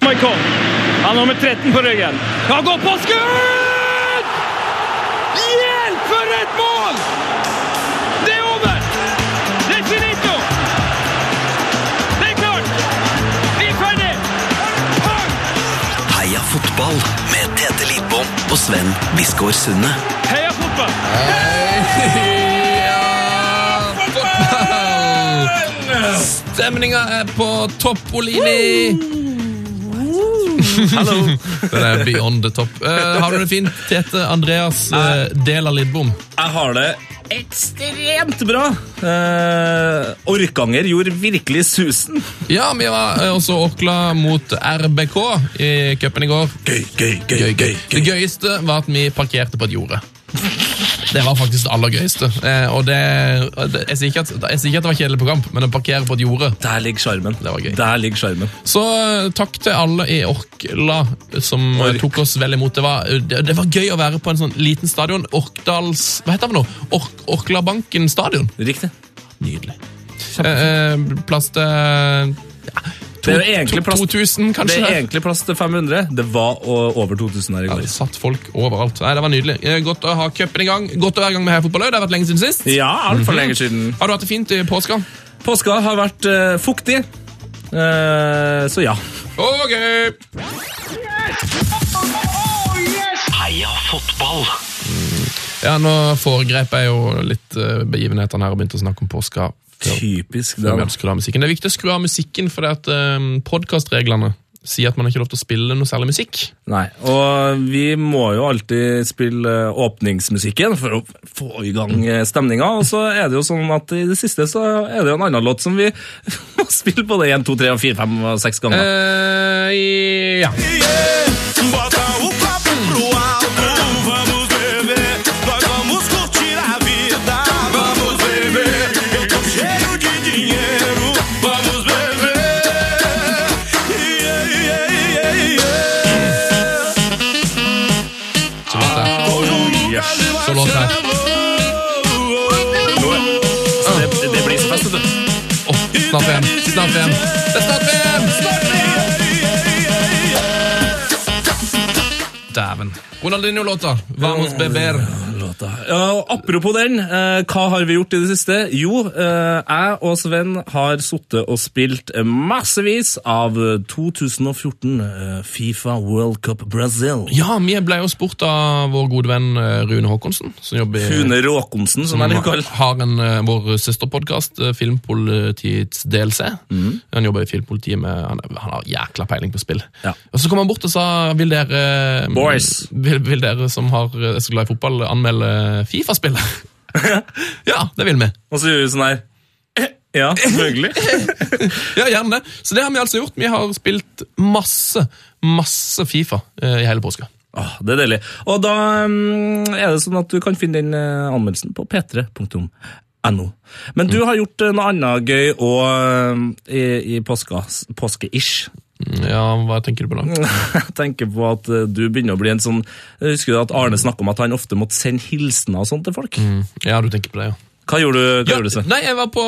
Raikon. Han er nummer 13 på ryggen. Kan gå på skudd! Hjelp, for et mål! Det er over! Det er finito! Det er klart! Vi er ferdig! Heia fotball med Tete Lidbom og Sven Biskår Sunde. Heia fotball! Stemninga er på topp, Olini! Den er beyond the top. Eh, har du det fint, Tete Andreas eh, del av Lidbom? Jeg har det ekstremt bra. Eh, Orkanger gjorde virkelig susen. Ja, vi var eh, også Orkla mot RBK i cupen i går. Gøy, gøy, gøy, Det gøyeste var at vi parkerte på et jorde. Det var faktisk det aller gøyeste. Eh, og det, det, jeg, sier ikke at, jeg sier ikke at det var kjedelig på kamp, men å parkere på et jorde Der ligger sjarmen. Det var gøy. Der ligger sjarmen. Så eh, takk til alle i Orkla som eh, Ork. tok oss vel imot. Det var, eh, det, det var gøy å være på en sånn liten stadion. Orkdals Hva heter det for noe? Ork, Orklabanken stadion. Riktig. Nydelig. Eh, eh, plass til ja, to, Det er jo egentlig to- plass- 2000, Det kanskje? er egentlig plass til 500. Det var å- over 2000 her i Ja, går. det satt folk overalt. Nei, Det var nydelig. Eh, Godt å ha cupen i gang. Godt å være i gang med heiafotball òg. Det har vært lenge siden sist. Ja, altfor lenge siden. Har du hatt det fint i påska? Påska har vært eh, fuktig. Eh, så ja. Ok! Heia fotball! Ja, Nå foregrep jeg jo litt eh, begivenhetene her og begynte å snakke om påska. før Typisk. Før vi Den. hadde skrudd av musikken. Det er viktig å skru av musikken, for det at um, podkastreglene sier at man ikke har lov til å spille noe særlig musikk. Nei. Og vi må jo alltid spille eh, åpningsmusikken for å få i gang eh, stemninga. Og så er det jo sånn at i det siste så er det jo en annen låt som vi må spille både 1, 2, 3, 4, 5 og 6 ganger. Eh, ja. Så låt her. Så låt her. Det, det blir så fest, vet du. Å, snart VM. Snart VM. Det er snart VM! Snart VM! Dæven. Ronaldinho-låta. Vamos beber. Ja, og apropos den, eh, hva har vi gjort i det siste? Jo, eh, jeg og Sven har sittet og spilt massevis av eh, 2014 eh, Fifa World Cup Brazil. Ja, vi ble jo spurt av vår gode venn eh, Rune Håkonsen, som jobber i Rune Råkonsen, som jeg Han liker å kalle har en, eh, vår søsterpodkast, Filmpolitiets DLC. Mhm. Han jobber i Filmpolitiet med han, han har jækla peiling på spill. Ja. Og Så kom han bort og sa Vil dere eh, Boys. Vil, vil dere som har, er så glad i fotball, anmelde Fifa-spillet? ja, det vil vi. Og så gjør vi sånn her. Ja, selvfølgelig. Ja, gjerne det. Så det har vi altså gjort. Vi har spilt masse, masse Fifa eh, i hele påska. Åh, Ah, det er deilig. Og da mm, er det sånn at du kan finne den eh, anmeldelsen på p3.no. Men Mm. du har gjort eh, noe annet gøy og eh, i, i påska, påske-ish. Ja, hva tenker du på da? Jeg tenker på at eh, du begynner å bli en sånn Husker du at Arne snakka om at han ofte måtte sende hilsener og sånt til folk? Ja, du tenker på det, ja. Hva gjorde du? Hva Mm. Ja, gjorde du så? Nei, jeg var på,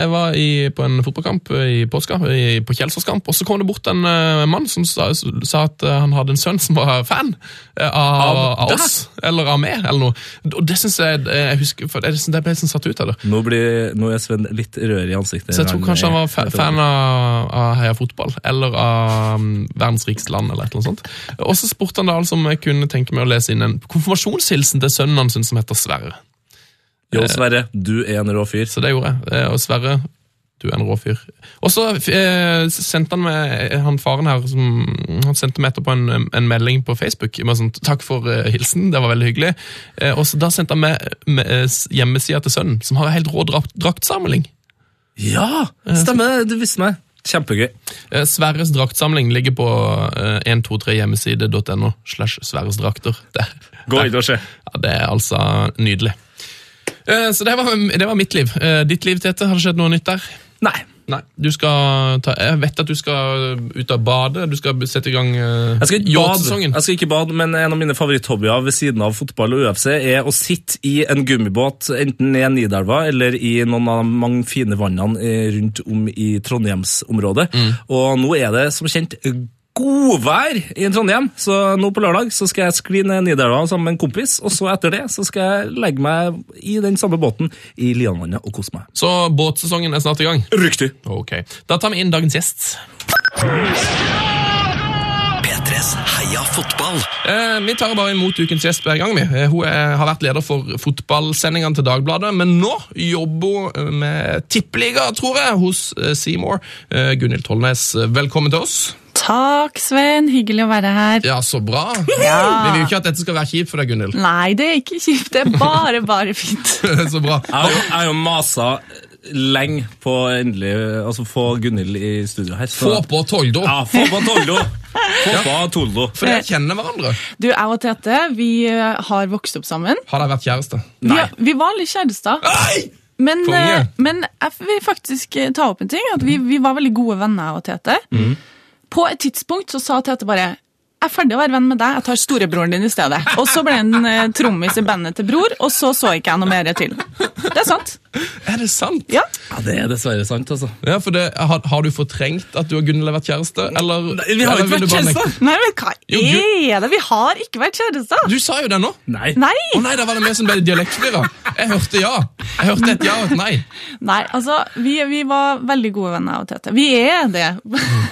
jeg var i, på en fotballkamp i påska, i, på Kjelsåskamp, og så kom det bort en eh, mann som sa, sa at eh, han hadde en sønn som var fan eh, av, av, deg? oss, eller av meg, eller noe. Og det synes jeg, eh, jeg husker, for det, det ble sånn satt ut av det. Nå, blir, nå er Sven litt rødere i ansiktet. eh, Så jeg tror kanskje han var fa er- fan av, av Heia Fotball, eller av mm, Verdens rikeste land, eller et eller annet sånt. Og så spurte han da altså om jeg kunne tenke meg å lese inn en konfirmasjonshilsen til sønnen hans som heter Sverre. Jo, Sverre, du er en rå fyr. Så det gjorde jeg. Eh, Og Sverre, du er en rå fyr. Og så eh, sendte han meg, eh, han faren her, som, han sendte meg etterpå en, en melding på Facebook. Med sånn, takk for eh, hilsen, det var veldig hyggelig. Eh, og så da sendte han meg med, eh, s- hjemmesida til sønnen, som har en helt rå drakt, draktsamling. Ja! Stemmer, du visste meg. Kjempegøy. Eh, Sverres draktsamling ligger på eh, 123hjemmeside.no slash Sverres drakter. Der. Gå inn og se. Ja, det er altså nydelig. Eh, så det var, det var mitt liv. Eh, ditt liv, Tete, har det skjedd noe nytt der? Nei. Nei, du skal ta, jeg vet at du skal ut av badet. Du skal sette i gang eh, Jeg skal, ikke bade. yacht-sesongen. jeg skal ikke bade, men en av mine favoritthobbyer ved siden av fotball og UFC er å sitte i en gummibåt, enten ned Nidelva eller i noen av de mange Mm. fine vannene eh, rundt om i Trondheimsområdet. Og nå er det som kjent godvær i Trondheim, så nå på lørdag så skal jeg skli ned Nidelva sammen med en kompis. Og så etter det så skal jeg legge meg i den samme båten i Lianvannet og kose meg. Så båtsesongen er snart i gang. Riktig. Ok, Da tar vi inn dagens gjest. P3s Heia fotball. Eh, vi tar bare imot ukens gjest hver gang. vi. Eh, hun er, har vært leder for fotballsendingene til Dagbladet, men nå jobber hun eh, med tippeliga, tror jeg, hos eh, Seymour. Eh, Gunhild Tollnes, eh, velkommen til oss. Takk, Sven. Hyggelig å være her. Ja, så bra. Vi vil jo ikke at dette skal være kjipt for deg, Gunhild. Nei, det er ikke kjipt. Det er bare, bare fint. så bra. Jeg har jo, jeg har jo masa lenge på endelig altså få Gunhild i studio her. Så. Få på Toldo, Ja, få på Toldo! Få på Toldo. for dere kjenner hverandre. Du, jeg og Tete, vi eh, har vokst opp sammen. Har dere vært kjæreste? Vi, vi var litt kjærester. Men, Konge. eh, men jeg vil faktisk eh, ta opp en ting. At vi, vi var veldig gode venner, jeg og Tete. Mm. På et tidspunkt så sa Tete bare jeg er ferdig å være venn med deg, jeg tar storebroren din i stedet. Og så ble han eh, trommis i bandet til bror, og så så ikke jeg noe mer til. Det er sant. Er det sant? Ja. Ja, det er dessverre sant, altså. Ja, for det, har, har du fortrengt at du og Gunhild har vært kjæreste? Eller, vi har jo eller ikke vil du vært bare nekte? kjærester! Nei, men hva Jo, du- er det? Vi har ikke vært kjærester. Du sa jo det nå! Nei. Nei! Å nei, da var det vi som ble dialektstyra. Jeg hørte ja. Jeg hørte et ja og et nei. Nei, altså, vi, vi var veldig gode venner, jeg og Tete. Vi er det.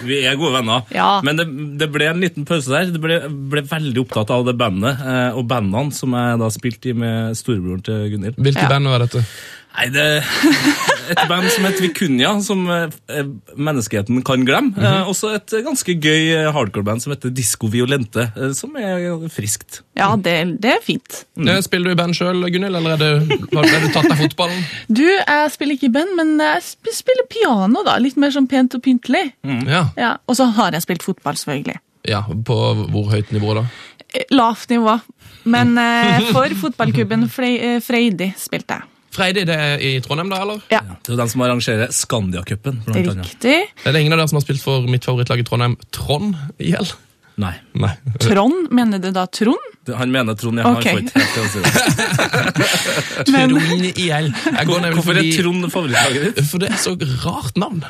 Vi er gode venner, Ja. men det, det ble en liten pause der. Det ble, ble veldig opptatt av det bandet eh, og bandene som jeg da spilte i med storebroren til Gunhild. Hvilket Ja. band var dette? Nei, det Et band som heter Vikunja, som eh, menneskeheten kan glemme. Mhm. eh, også et ganske gøy eh, hardcore-band som heter Disco Violente, eh, som er friskt. Ja, det, det er fint. Mm. Eh, Spiller du i band sjøl, Gunhild, eller er du, har, er du tatt av fotballen? Du, jeg spiller ikke i band, men jeg sp- spiller piano, da. Litt mer sånn pent og pyntelig. Mm. Ja. Ja, og så har jeg spilt fotball, selvfølgelig. ja. På hvor høyt nivå, da? Eh, Lavt nivå. Men eh, for fotballklubben Frei- eh, Freidig spilte jeg. Freidig, det er i Trondheim, da, eller? Ja, Det er jo den som arrangerer Skandiacupen, blant annet. riktig. Er det ingen av dere som har spilt for mitt favorittlag i Trondheim, Trond IL? Nei. Nei. Trond, mener du da Trond? det- Han mener Trond, jeg har Ok. okay. fått helt til å si det. Men- Trond IL. Jeg går nemlig Hvorfor er forbi Trond favorittlaget ditt? For det er så rart navn.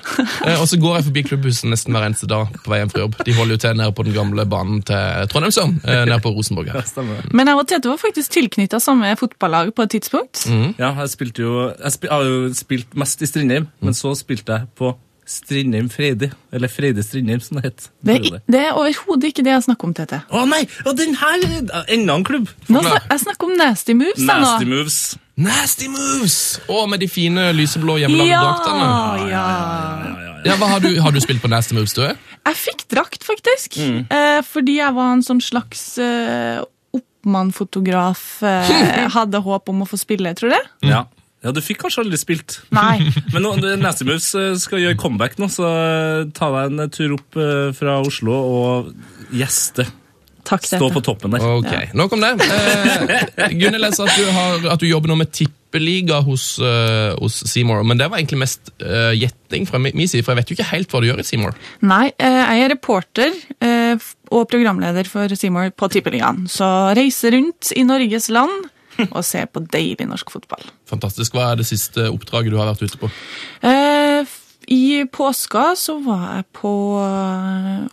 Eh, og så går jeg forbi klubbhuset nesten hver eneste dag på vei hjem fra jobb. De holder jo til nede på den gamle banen til Trondheimsørn, eh, nede på Rosenborg her. Stemmer det. Men jeg og Tete var faktisk tilknytta samme fotballag på et tidspunkt. Ja, jeg spilte jo Jeg spil, har jo spilt mest i Strindheim, Mm. men så spilte jeg på Strindheim Freidig. Eller Freidig Strindheim, som det het. Det er, i- det er overhodet ikke det jeg snakker om, Tete. Å nei! Og den her Enda en klubb! Nå, snak- jeg snakker om Nasty Moves. jeg nå. Nasty Moves. Nasty Moves! Og med de fine lyseblå hjemmelagde draktene. Ja, ja. Ja, hva har, du, har du spilt på Nasty Moves, du? Jeg fikk drakt, faktisk. Mm. Eh, fordi jeg var en sånn slags eh, oppmannfotograf. Hm. Eh, hadde håp om å få spille, tror du det? Ja. ja, du fikk kanskje aldri spilt. Nei. Men nå, Nasty Moves eh, skal gjøre comeback nå, så eh, ta deg en eh, tur opp eh, fra Oslo og gjeste. Takk, Tete. Stå på toppen der. Ok, Nok om det. Eh, Gunhild, jeg sa at, du har- at du jobber nå med tippeliga hos, eh, hos Seymour, men det var egentlig mest eh, gjetting fra mi- min side, for jeg vet jo ikke helt hva du gjør i Seymour. Nei, eh, jeg er reporter eh, f- og programleder for Seymour på Tippeligaen. Så reise rundt i Norges land og se på deilig norsk fotball. Fantastisk. Hva er det siste oppdraget du har vært ute på? Eh, f- I påska så var jeg på eh,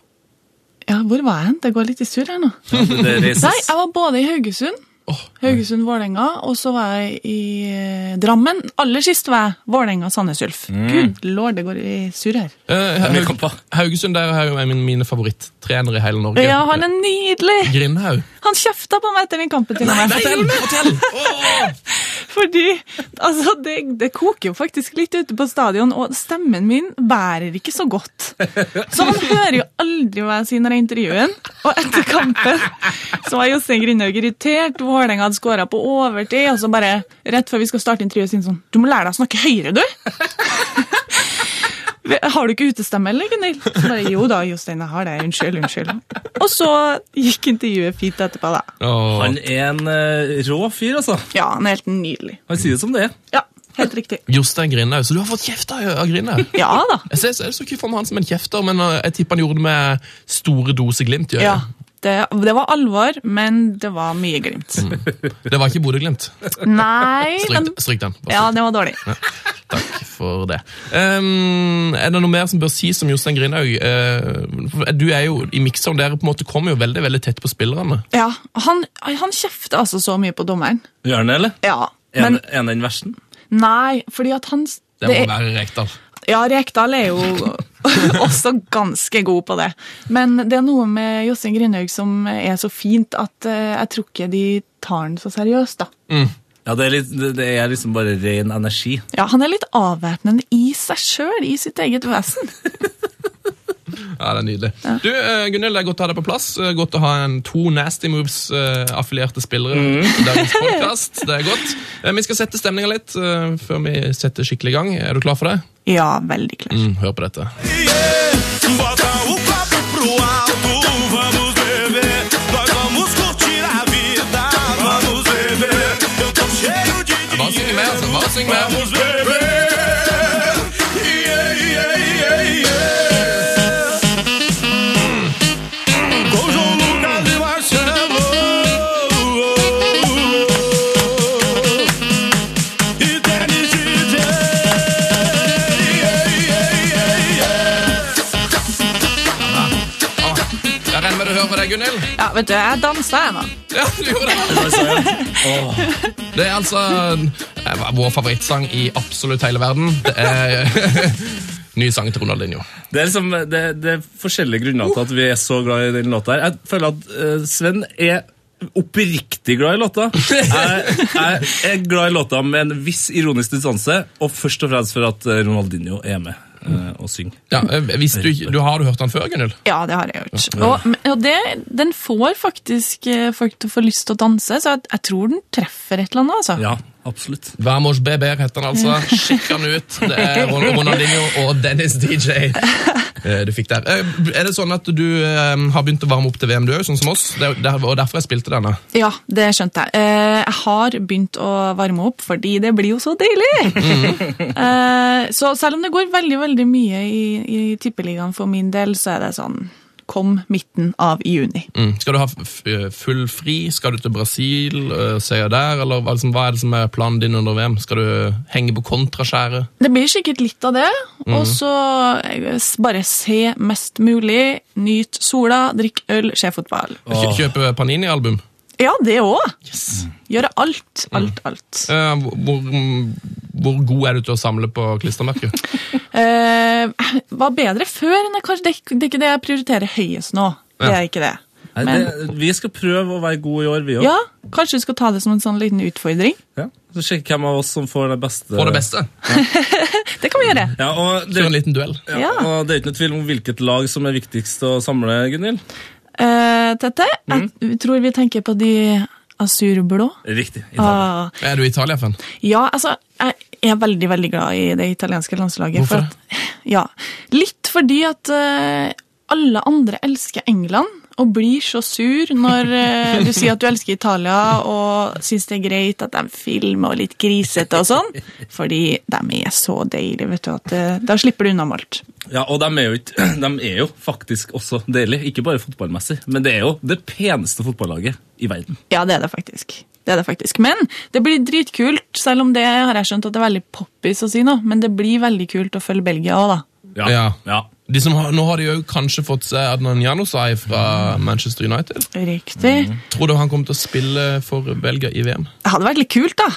Ja, hvor var jeg hen? Det går litt i surr her nå. Det, det reises. Nei, jeg var både i Haugesund, Åh, Haugesund-Vålerenga, og så var jeg i eh, Drammen. Aller sist var jeg Vålerenga-Sandnes Ulf. Mm. Gud lord, det går i surr her. Eh, mye Haug- kamper. Haugesund der er jo en av mine favorittrenere i hele Norge. Ja, han er nydelig! Grindhaug. Han kjefta på meg etter den kampen til Nei, meg. fortell! fortell! Åh! Fordi altså, det, det koker jo faktisk litt ute på stadion, og stemmen min bærer ikke så godt. Så han hører jo aldri hva jeg sier når jeg intervjuer ham. Og etter kampen så var Jostein Grindhaug irritert, Vålerenga hadde skåra på overtid, og så bare rett før vi skal starte intervjuet, sier han sånn Du må lære deg å snakke høyere, du! Har du ikke utestemme, eller, Gunhild? Så bare, Jo da, Jostein, jeg har det. Unnskyld, unnskyld. Og så gikk intervjuet fint etterpå, da. Åh. Han er en eh, rå fyr, altså. Ja, han er helt nydelig. Han sier det som det er. Ja, helt riktig. Jostein Grindhaug. Så du har fått kjeft av av Grindhaug? Ja da. Jeg ser, jeg så ikke for meg han som en kjefter, men eh, jeg tipper han gjorde det med store doser glimt i øyet. Ja, det, det var alvor, men det var mye glimt. Det var ikke Bodø-Glimt. Nei Stryk, den, stryk den. Bare Ja, det var dårlig. Takk for det. Ehm, er det noe mer som bør sies om Jostein Grindhaug? Eh, for du er jo i mikseren, dere på en måte kommer jo veldig veldig tett på spillerne. Ja, han, han kjefter altså så mye på dommeren. Gjør han det, eller? Ja, Er men det- Er det den versten? nei, fordi at han Det må det er, være Rekdal. Ja, Rekdal er jo også ganske god på det. Men det er noe med Jostein Grindhaug som er så fint at eh, jeg tror ikke de tar den så seriøst, da. Ja, det er, litt, det- det er liksom bare ren energi. Ja, Han er litt avvæpnende i seg sjøl, i sitt eget vesen. Ja, det er nydelig. Du, eh, Gunhild, det er godt å ha deg på plass. Eh, Godt å ha en to Nasty Moves-affilierte spillere i dagens podcast. Det er godt. Eh, Vi skal sette stemninga litt eh, før vi setter skikkelig i gang. Er du klar for det? Ja, veldig klar. Mm, hør på dette. Bota o papo pro alto, vamos beber. Nós vamos curtir a vida, vamos beber. Eu tô cheio de Bare syng med, altså. Bare syng med. Vamos beber. Yeah, yeah, yeah, yeah. Com João Lucas e Marcelo. E Dennis DJ. Yeah, yeah, yeah, yeah. Jeg regner med du hører på det, Gunhild? Ja, vet du, Jeg dansa, jeg nå. Ja, du gjorde det. Det er altså eh, vår favorittsang i absolutt hele verden. Det er ny sang til Ronaldinho. Det er, liksom, det, det er forskjellige grunner til at vi er så glad i den låta. her. Jeg føler at eh, Sven er oppriktig glad i låta. Jeg, jeg er glad i låta med en viss ironisk distanse, og først og fremst for at eh, Ronaldinho er med eh, og synger. Ja, eh, hvis du, ikke- du Har du hørt den før, Gunhild? Ja, det har jeg gjort. Og, og det, den får faktisk eh, folk til å få lyst til å danse, så jeg, jeg tror den treffer et eller annet. altså. Ja, absolutt. Vamos Beber heter den altså. Sjekk den ut. Det er Ron- Ronaldinho og Dennis DJ eh, du fikk der. Eh, Er det sånn at du eh, har begynt å varme opp til VM, du òg, sånn som oss? Det er jo der, og derfor jeg spilte denne. Ja, det skjønte jeg. Eh, Jeg har begynt å varme opp, fordi det blir jo så deilig! Eh, Så selv om det går veldig veldig mye i, i tippeligaen for min del, så er det sånn Kom midten av juni. Mm. Skal du ha f- f- full fri? Skal du til Brasil? eh, Seier der? Eller hva liksom, hva er det som er planen din under VM? Skal du henge på kontraskjæret? Det blir sikkert litt av det. Og så eh, s- bare se mest mulig, nyt sola, drikk øl, se fotball. Kjø- Kjøpe Panini-album? Ja, det òg! Gjøre alt, alt, alt. Eh, hvor, hvor god er du til å samle på klistremerker? Eh, var bedre før, men det er kanskje- det er ikke- det er ikke det jeg prioriterer høyest nå. Det er ikke det. Nei, Men- det, vi skal prøve å være gode i år, vi òg. Ja, kanskje du skal ta det som en sånn liten utfordring? Ja. Så sjekke hvem av oss som får det beste. På det beste. Det kan vi gjøre. Ja, og det, Kjør en liten duell. ja, Ja. og det er ikke noe tvil om hvilket lag som er viktigst å samle, Gunhild. Eh, Tette, jeg tror vi tenker på de asurblå. Riktig. Italia. Ah, Er du Italia-fan? ja, altså, jeg er veldig, veldig glad i det italienske landslaget. Hvorfor at- ja, litt fordi at eh, alle andre elsker England, og blir så sur når eh, du sier at du elsker Italia, og syns det er greit at de filmer og litt grisete og sånn. Fordi de er så deilige, vet du, at eh, da slipper du unna med alt. Ja, og de er, jo ikke, de er jo faktisk også deilige, ikke bare fotballmessig, men det er jo det peneste fotballaget i verden. Ja, det er det faktisk. Det er det faktisk. Men det blir dritkult, selv om det har jeg skjønt at det er veldig poppis å si nå, men det blir veldig kult å følge Belgia òg, da. Ja. ja. De som har, nå har de jo kanskje fått seg Adnan Janusaj fra Manchester United. Riktig. Tror du han kommer til å spille for Belgia i VM? Det hadde vært litt kult, da.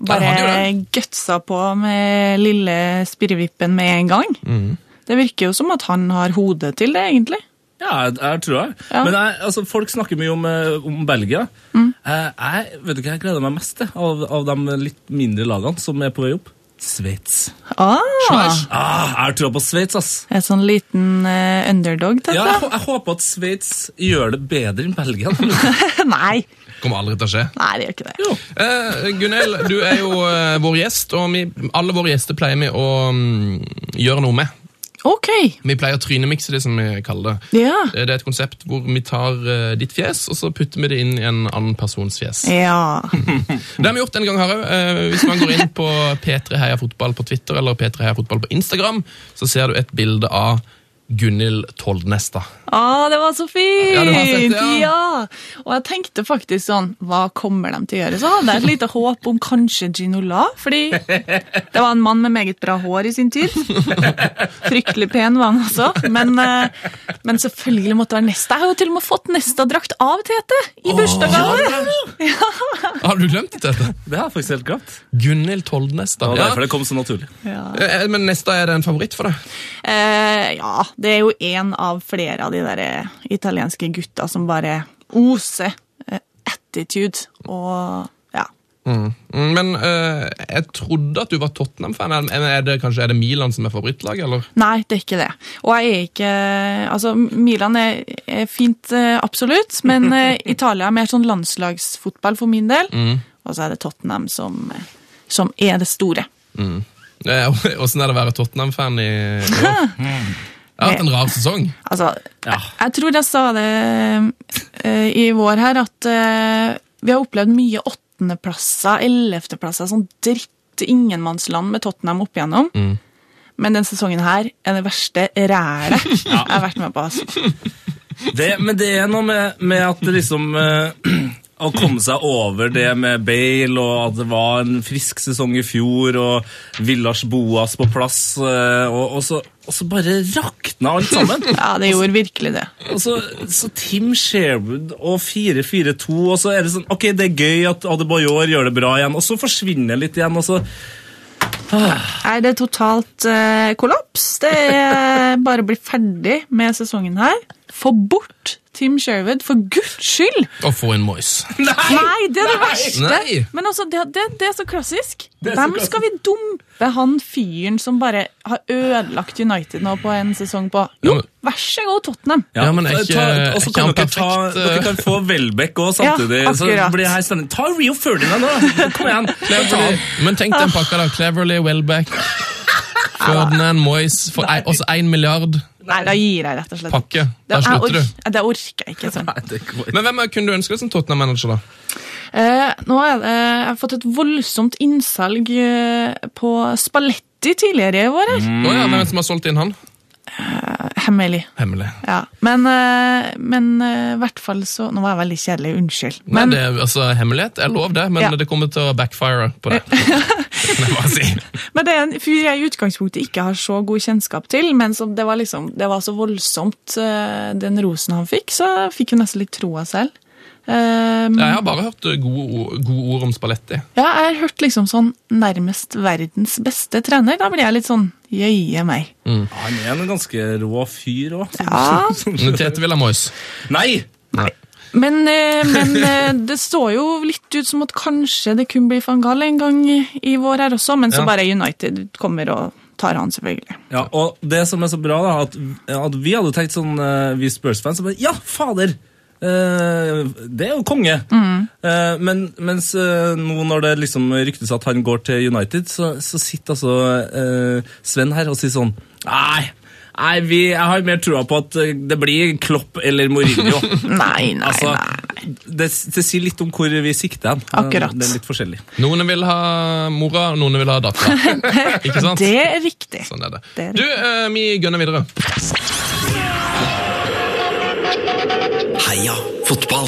Bare Ja, det hadde gutsa på med lille spirrevippen med en gang. Mhm. Det virker jo som at han har hodet til det, egentlig. Ja, jeg, jeg tror jeg. Ja. Men jeg, altså, folk snakker mye om, eh, om Belgia. Eh, Jeg, vet du hva jeg gleder meg mest til av, av de litt mindre lagene som er på vei opp? Sveits. Ah, Ah, jeg har trua på Sveits, ass. en sånn liten eh, underdog, Ja, Tette. jeg, hå- jeg håper at Sveits gjør det bedre enn Belgia. nei, Kommer aldri til å skje. nei, det gjør ikke det. Jo. Eh, Gunhild, du er jo eh, vår gjest, og vi, alle våre gjester pleier vi å mm, gjøre noe med. Ok. Vi pleier å trynemikse det, som vi kaller det. Ja. Eh, Det er et konsept hvor vi tar eh, ditt fjes, og så putter vi det inn i en annen persons fjes. Ja. Det har vi gjort en gang, Harald. Eh, Hvis man går inn på P3 Heia Fotball på Twitter eller P3 Heia Fotball på Instagram, så ser du et bilde av Gunhild Toldnesta. Å, det var så Ja, det var fint! fett, ja. Ja. Og jeg tenkte faktisk sånn, hva kommer de til å gjøre? Så hadde jeg et lite håp om kanskje Ginola, fordi det var en mann med meget bra hår i sin tid. Fryktelig pen var han også, men, eh, men selvfølgelig måtte det være Nesta. Jeg har jo til og med fått Nesta-drakt av Tete i bursdagsgave! Har du glemt det, Tete? Det har jeg faktisk helt glemt. Gunhild Toldnesta. Det var Ja. derfor det kom så naturlig. Ja. Eh, Men Nesta er det en favoritt for deg? Eh, ja, det er jo en av flere av de der eh, italienske gutta som bare oser eh, attitude og ja. Mm, Men eh, jeg trodde at du var Tottenham-fan. Er- Er det kanskje er det Milan som er favorittlaget, eller? Nei, det er ikke det. Og jeg er ikke Altså, Milan er, er fint, eh, absolutt, men eh, Italia er mer sånn landslagsfotball for min del. Og så er det Tottenham som, eh, som er det store. Eh, Åssen er det å være Tottenham-fan i i år? Det har vært en rar sesong. Altså, jeg, jeg tror jeg sa det eh, i vår her, at eh, vi har opplevd mye åttendeplasser, ellevteplasser, sånn dritt ingenmannsland med Tottenham opp igjennom. Men den sesongen her er det verste rælet jeg har vært med på. Altså. Det, men det er noe med, med at det liksom eh, Å komme seg over det med Bale, og at det var en frisk sesong i fjor, og Villars Boas på plass, eh, og, og, så, og så bare rakna alt sammen. Ja, det gjorde virkelig det. Og så, så Tim Sherwood og 4-4-2, og så er det sånn Ok, det er gøy at Adebayor gjør det bra igjen, og så forsvinner det litt igjen, og så Nei, det er totalt eh, kollaps. Det er bare å bli ferdig med sesongen her. Få bort Tim Sherwood, for guds skyld! Å få inn Moyes. Nei, det er det verste! Nei. Men altså, det, det, det er så klassisk. er så Hvem skal vi dumpe han fyren som bare har ødelagt United nå på en sesong på? Ja, Jo, men- vær så god, Tottenham! Ja, men er eh, ikke- ta, og er så ikke kan han dere, ta, perfekt, eh? dere kan få Welbeck òg Ja, samtidig. så akkurat. blir det her stemning. Ta Rio Ferdinand, da! Kom igjen! Ta han. Men tenk Ah. den pakka, da. Cleverly, Welbeck, Ferdinand, Moyes for ei- Også én milliard Nei, da gir jeg rett og slett. pakke. Det, Der jeg slutter du. ork- det orker jeg ikke. sånn. Men hvem er- kunne du ønske deg som Tottenham-manager, da? Eh, nå er det, jeg har fått et voldsomt innsalg eh, på Spalletti tidligere i vår. her. Å ja, men hvem som har solgt inn han? Hemmelig. Hemmelig. Ja. Men eh, men eh, i hvert fall så Nå var jeg veldig kjedelig, unnskyld. Nei, Men, det er altså Hemmelighet er lov, det, men Ja. det kommer til å backfire på det. Det kan jeg bare si. men det er en fyr jeg i utgangspunktet ikke har så god kjennskap til, men som det var liksom, det var så voldsomt, eh, den rosen han fikk, så jeg fikk jo nesten litt troa selv. Eh, Ja, Jeg har bare hørt eh, gode ord, gode ord om Spalletti. ja, jeg har hørt liksom sånn nærmest verdens beste trener. Da blir jeg litt sånn jøye meg. Han er en ganske rå fyr òg. Ja, Men Tete vil ha Moyes. Nei! Men, eh, men eh, det så jo litt ut som at kanskje det kunne bli van Gaal en gang i vår her også, men så Ja. bare United kommer og tar han, selvfølgelig. Ja, og det som er så bra, da, at, at vi hadde tenkt sånn, eh, vi Spurs-fans, så bare Ja, fader! Eh, det er jo konge! Mm. Eh, men mens eh, nå når det liksom ryktes at han går til United, så, så sitter altså eh, Sven her og sier sånn Nei, nei vi, jeg har mer trua på at eh, det blir Klopp eller Mourinho. Nei, nei, altså, nei. det, det sier litt om hvor vi sikter hen. Eh, Akkurat. Det er litt forskjellig. Noen vil ha mora, og noen vil ha dattera. Ikke sant? Det er riktig. Sånn er det. Det er Du, eh, vi gønner videre. Heia fotball.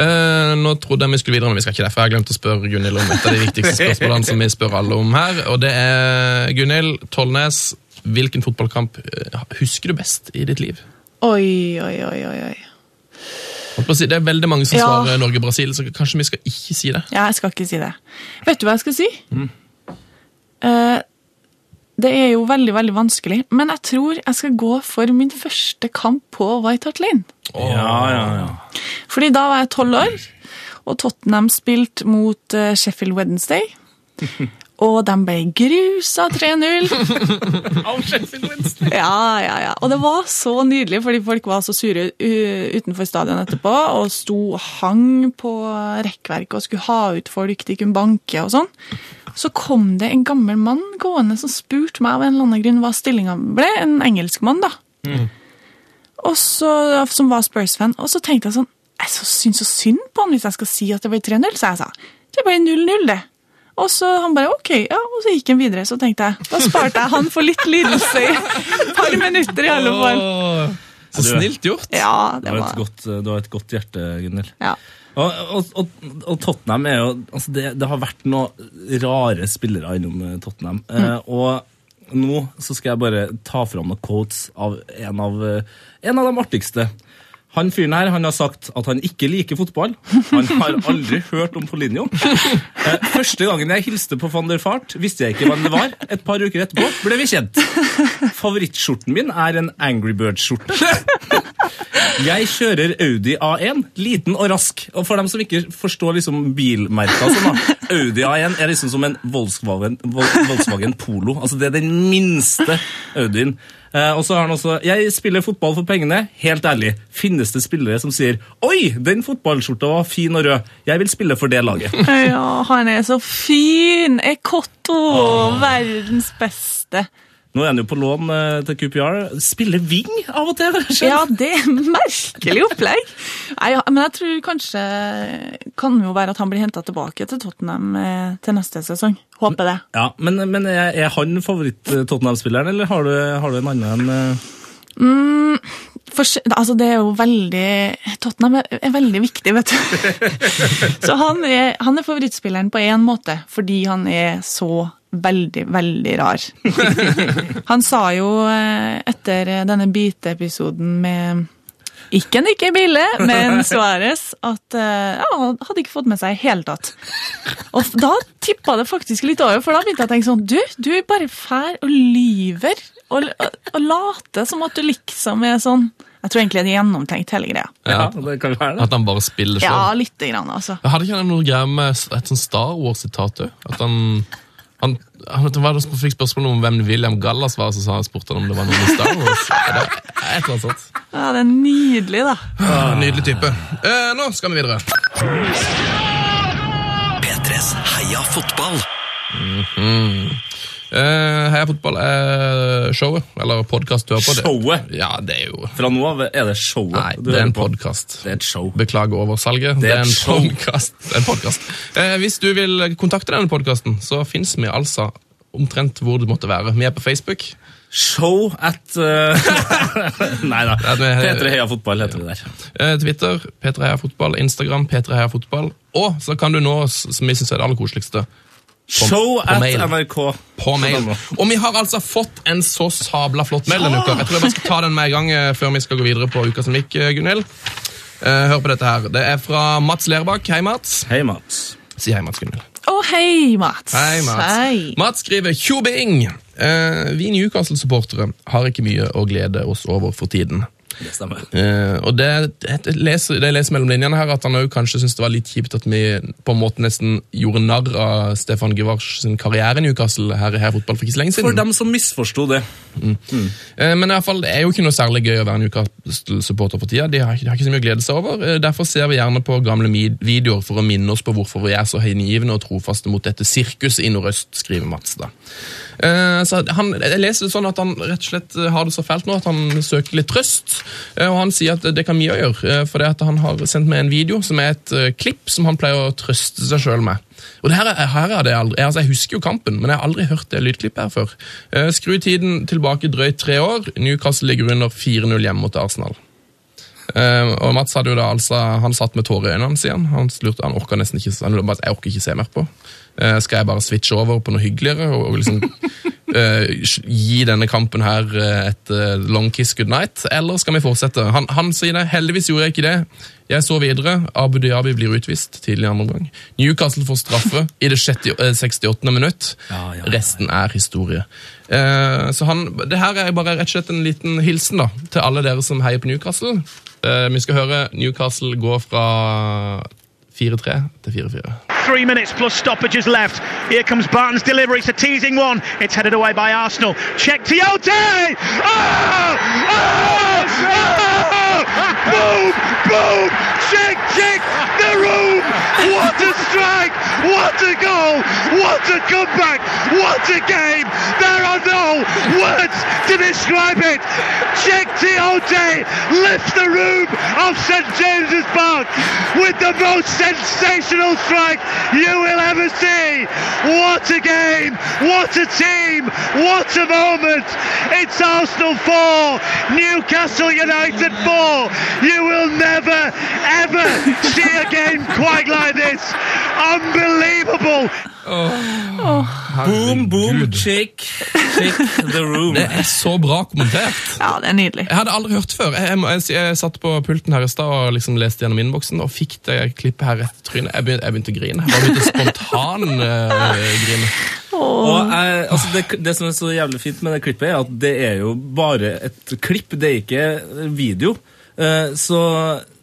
Eh, nå trodde jeg vi skulle videre, men vi skal ikke det. For jeg har glemt å spørre Gunhild om et av de viktigste spørsmålene som vi spør alle om her. Og det er Gunhild Tollnes. Hvilken fotballkamp eh, husker du best i ditt liv? Oi, oi, oi, oi. oi. Holdt på å si, Det er veldig mange som Ja. svarer Norge-Brasil, så kanskje vi skal ikke si det. Ja, jeg skal ikke si det. Vet du hva jeg skal si? Mm. Eh, det er jo veldig, veldig vanskelig, men jeg tror jeg skal gå for min første kamp på White Hart Lane. Ja, ja, ja. Fordi da var jeg tolv år, og Tottenham spilte mot eh, Sheffield Wednesday. Og de ble grusa 3-0. Ja, ja, ja. Og det var så nydelig, fordi folk var så sure u- utenfor stadion etterpå, og sto og hang på rekkverket og skulle ha ut folk de kunne banke og sånn. Så kom det en gammel mann gående som spurte meg av en eller annen grunn hva stillinga ble. En engelsk mann, da. Og så, som var Spurs-fan. Og så tenkte jeg sånn Jeg så- syns så synd på han hvis jeg skal si at det ble 3-0, så jeg sa det ble 0-0, det. Og så han bare ok, ja, og så gikk han videre. Så tenkte jeg, da sparte jeg han for litt lidelse i et par minutter i alle fall. Åh, Så snilt gjort. Ja, Du det har et var godt, du har et godt hjerte, Gunnhild. ja. Og, og, og, og Tottenham er jo altså det, det har vært noen rare spillere innom eh, Tottenham. Mm. Eh, og nå så skal jeg bare ta fram noen quotes av en av, eh, en av de artigste. Han fyren her han har sagt at han ikke liker fotball. Han har aldri hørt om Polinio. Eh, første gangen jeg hilste på van der Fart, visste jeg ikke hvem det var. Et par uker etterpå ble vi kjent. Favorittskjorten min er en Angry Bird-skjorte. Jeg kjører Audi A1, liten og rask. Og for dem som ikke forstår liksom bilmerka og sånn, da. Audi A1 er liksom som en Volkswagen, Vol- Volkswagen Polo. Altså det er den minste Audien. Eh, og så har han også Jeg spiller fotball for pengene. Helt ærlig, finnes det spillere som sier Oi, den fotballskjorta var fin og rød. Jeg vil spille for det laget. ja, han er så fin! Ekotto! Verdens beste. Nå er han jo på lån eh, til QPR. Spiller wing av og til, kanskje? Ja, det er merkelig opplegg. Nei, ja, men jeg tror kanskje kan jo være at han blir henta tilbake til Tottenham eh, til neste sesong. Håper det. Ja, men, men er er han favoritt-Tottenham-spilleren, eller har du, har du en annen enn eh, For, altså, det er jo veldig Tottenham er, er veldig viktig, vet du. Så han er, han er favorittspilleren på én måte, fordi han er så veldig, veldig rar. Han sa jo eh, etter denne biteepisoden med ikke Nikke Bille, men Suárez, at eh, ja, han hadde ikke fått med seg i hele tatt. Og da tippa det faktisk litt over, for da begynte jeg å tenke sånn Du, du bare fær og lyver og, og, og later som at du liksom er sånn Jeg tror egentlig det er gjennomtenkt, hele greia. Ja, Ja, det kan være det. at han bare spiller sånn. Ja, sjøl. lite grann, altså. Hadde ikke han noe greier med s- et sånn Star Wars-sitat òg? At han han, han, han var det som fikk spørsmål om hvem William Gallas var, så sa han spurte han om det var noen i Star Wars. Er det- Et eller annet sånt. Ja, Det er nydelig, da. Ah, Nydelig type. Eh, nå skal vi videre. P3s Heia fotball. Mm. Eh, Heia fotball er showet, eller podkast du hører på. Det- Showet. Ja, det er jo Fra nå av er det showet. Nei, du det er hører en på. podkast. Det er et show. Beklager oversalget. Det er en show. podcast. Det er En podcast. Eh, hvis du vil kontakte denne podkasten, så fins vi altså omtrent hvor det måtte være. Vi er på Facebook. Show at eh, Nei da. Ja, det er- P3 Heia Fotball heter det der. Eh, Twitter, P3 Heia Fotball, Instagram, P3 Heia Fotball. Og så kan du nå oss, som vi syns er det aller koseligste, Show på at mail. NRK. på mail. Og vi har altså fått en så sabla flott mail denne uka. Jeg tror jeg bare skal ta den med en gang eh, før vi skal gå videre på uka som gikk, eh, Gunhild. Eh, Hør på dette her. Det er fra Mats Lerbakk. Hei, Mats. Hei, Mats. Si hei, Mats Gunhild. Å, hei, Mats. Hei, Mats. Hei. Mats skriver Tjobing! Eh, vi Newcastle-supportere har ikke mye å glede oss over for tiden. Det stemmer. Eh, og det, det, leser, det leser mellom linjene her at han også kanskje syntes det var litt kjipt at vi på en måte nesten gjorde narr av Stefan Givars sin karriere i Newcastle her i her fotball for ikke så lenge For siden. dem som misforsto det. Eh, Men i alle fall, det er jo ikke noe særlig gøy å være Newcastle-supporter for tida. De har, ikke- de har ikke så mye å glede seg over. Eh, Derfor ser vi gjerne på gamle mi- videoer for å minne oss på hvorfor vi er så hengivne og trofaste mot dette sirkuset i Nordøst, skriver Mats. da. Eh, Så han, jeg leser det sånn at han rett og slett eh, har det så fælt nå at han søker litt trøst. Eh, Og han sier at det kan mye å gjøre, eh, for det at han har sendt meg en video som er et eh, klipp som han pleier å trøste seg sjøl med. Og det her, er- her er det aldri, jeg- altså Jeg husker jo kampen, men jeg har aldri hørt det lydklippet her før. Eh, Skru tiden tilbake drøyt tre år. Newcastle ligger under 4-0 hjemme mot Arsenal. Eh, og Mats hadde jo da altså, han satt med tårer i øynene, sier han. Han lurte, han orker nesten ikke, han lurte bare, jeg orker ikke se mer på. Eh, skal jeg bare switche over på noe hyggeligere og, og liksom eh, gi denne kampen her eh, et eh, long kiss good night, eller skal vi fortsette? Han, han sier det. Heldigvis gjorde jeg ikke det. Jeg så videre. Abu Dhabi blir utvist tidlig i andre omgang. Newcastle får straffe i det 60, eh, 68. minutt. Ja, ja, ja. Resten er historie. Eh, så han, det her er bare rett og slett en liten hilsen da, til alle dere som heier på Newcastle. Eh, vi skal høre Newcastle gå fra 4-3 til 4-4. three minutes plus stoppages left. Here comes Barton's delivery. It's a teasing one. It's headed away by Arsenal. Check Tiote! Oh! Oh! Oh! Boom! Boom! shake, shake the room. What a strike! What a goal! What a comeback! What a game! There are no words to describe it. Check Tiote lifts the room of St James's Park with the most sensational strike you will ever see. What a game! What a team! What a moment! It's Arsenal 4, Newcastle United 4. You will never, ever see a game quite like this. Unbelievable! Boom, boom, shake, shake the room. Det er så bra kommentert. Ja, det er nydelig. Jeg hadde aldri hørt før. Jeg, jeg, må- jeg, jeg satt på pulten her i stad og liksom leste gjennom innboksen og fikk det klippet her rett i trynet. Jeg begynte, jeg begynte å grine. Jeg bare begynte spontan eh, grine. Og jeg, altså det, det som er så jævlig fint med det klippet, er at det er jo bare et klipp, det er ikke video. Eh, Så,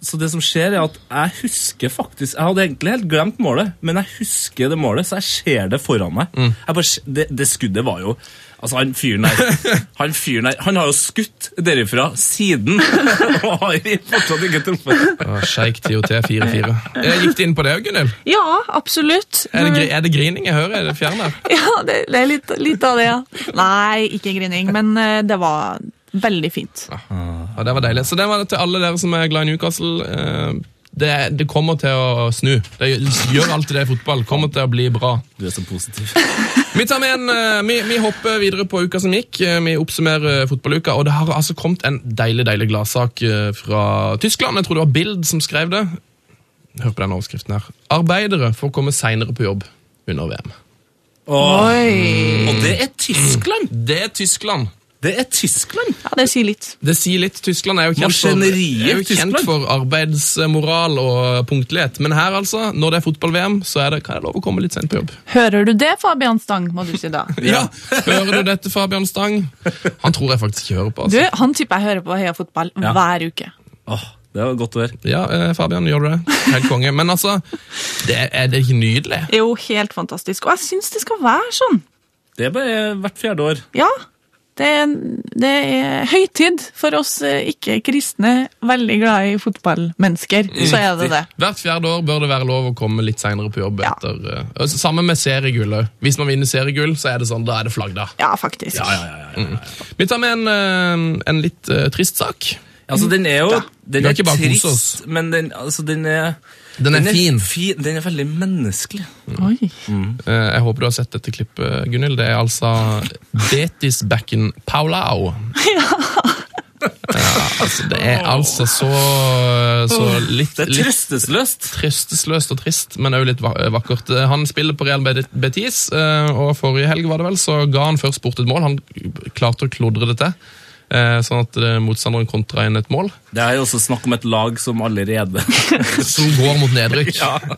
så det som skjer, er at jeg husker faktisk Jeg hadde egentlig helt glemt målet, men jeg husker det målet, så jeg ser det foran meg. Jeg bare, se- det, det skuddet var jo Altså, han fyren der Han fyren der, han har jo skutt derifra siden og har fortsatt ikke truffet. Å, Sjeik TOT 4-4. Eh, Gikk det inn på det òg, Gunhild? Ja, absolutt. Er, det gri- er det grining jeg hører? Er det fjerner? Ja, det, det er litt, litt av det, ja. Nei, ikke grining, men eh, det var veldig fint. Ja, det var deilig. Så det var det til alle dere som er glad i Newcastle. eh, Det, det kommer til å snu. Det gjør alltid det i fotball. Kommer til å bli bra. Du er så positiv. Vi tar med en, eh, vi, vi hopper videre på uka som gikk. Eh, Vi oppsummerer eh, fotballuka. Og det har altså kommet en deilig deilig gladsak eh, fra Tyskland. Jeg tror det var Bild som skrev det. Hør på den overskriften her. Arbeidere får komme seinere på jobb under VM. Og, Oi! og det er Tyskland! Det er Tyskland. Det er Tyskland! Ja, det sier litt. Det sier litt. Tyskland er jo kjent, for, Maskineriet er jo kjent Tyskland. for arbeidsmoral og punktlighet. Men her, altså, når det er fotball-VM, så er det, kan jeg lov å komme litt seint på jobb. Hører du det, Fabian Stang, må du si da? Ja. Hører du dette, Fabian Stang? Han tror jeg faktisk ikke hører på. Du, Altså. han tipper jeg hører på Heia Fotball Ja. hver uke. Åh, det var godt å høre. Ja, eh, Fabian, gjør du det? Helt konge. Men altså, det er, er det ikke nydelig? Det er jo helt fantastisk, og jeg syns det skal være sånn. Det er bare hvert fjerde år. Ja, det er, det er høytid for oss eh, ikke-kristne, veldig glad i fotballmennesker. Så er det det. Hvert fjerde år bør det være lov å komme litt seinere på jobb. Ja. etter... eh, og Sammen med seriegull òg. Hvis man vinner seriegull, så er det sånn, da er det flagg, da. Ja, faktisk. Vi tar med en, eh, en litt eh, trist sak. Altså, den er jo den kan er ikke bare kose oss. trist, men den, altså, den er Den er fin. fi- Den er veldig menneskelig. Oi. Mm. Eh, Jeg håper du har sett dette klippet, Gunhild. Det er altså Betis-backen Paulau. Ja. altså, det er altså så, så litt, Det er litt trøstesløst. trøstesløst og trist, men også litt va- vakkert. Eh, Han spiller på Real Bed- Betis, eh, og forrige helg var det vel, så ga han først bort et mål. Han klarte å klodre det til, eh, sånn at eh, motstanderen kontra inn et mål. Det er jo også snakk om et lag som allerede Altså, som går mot nedrykk.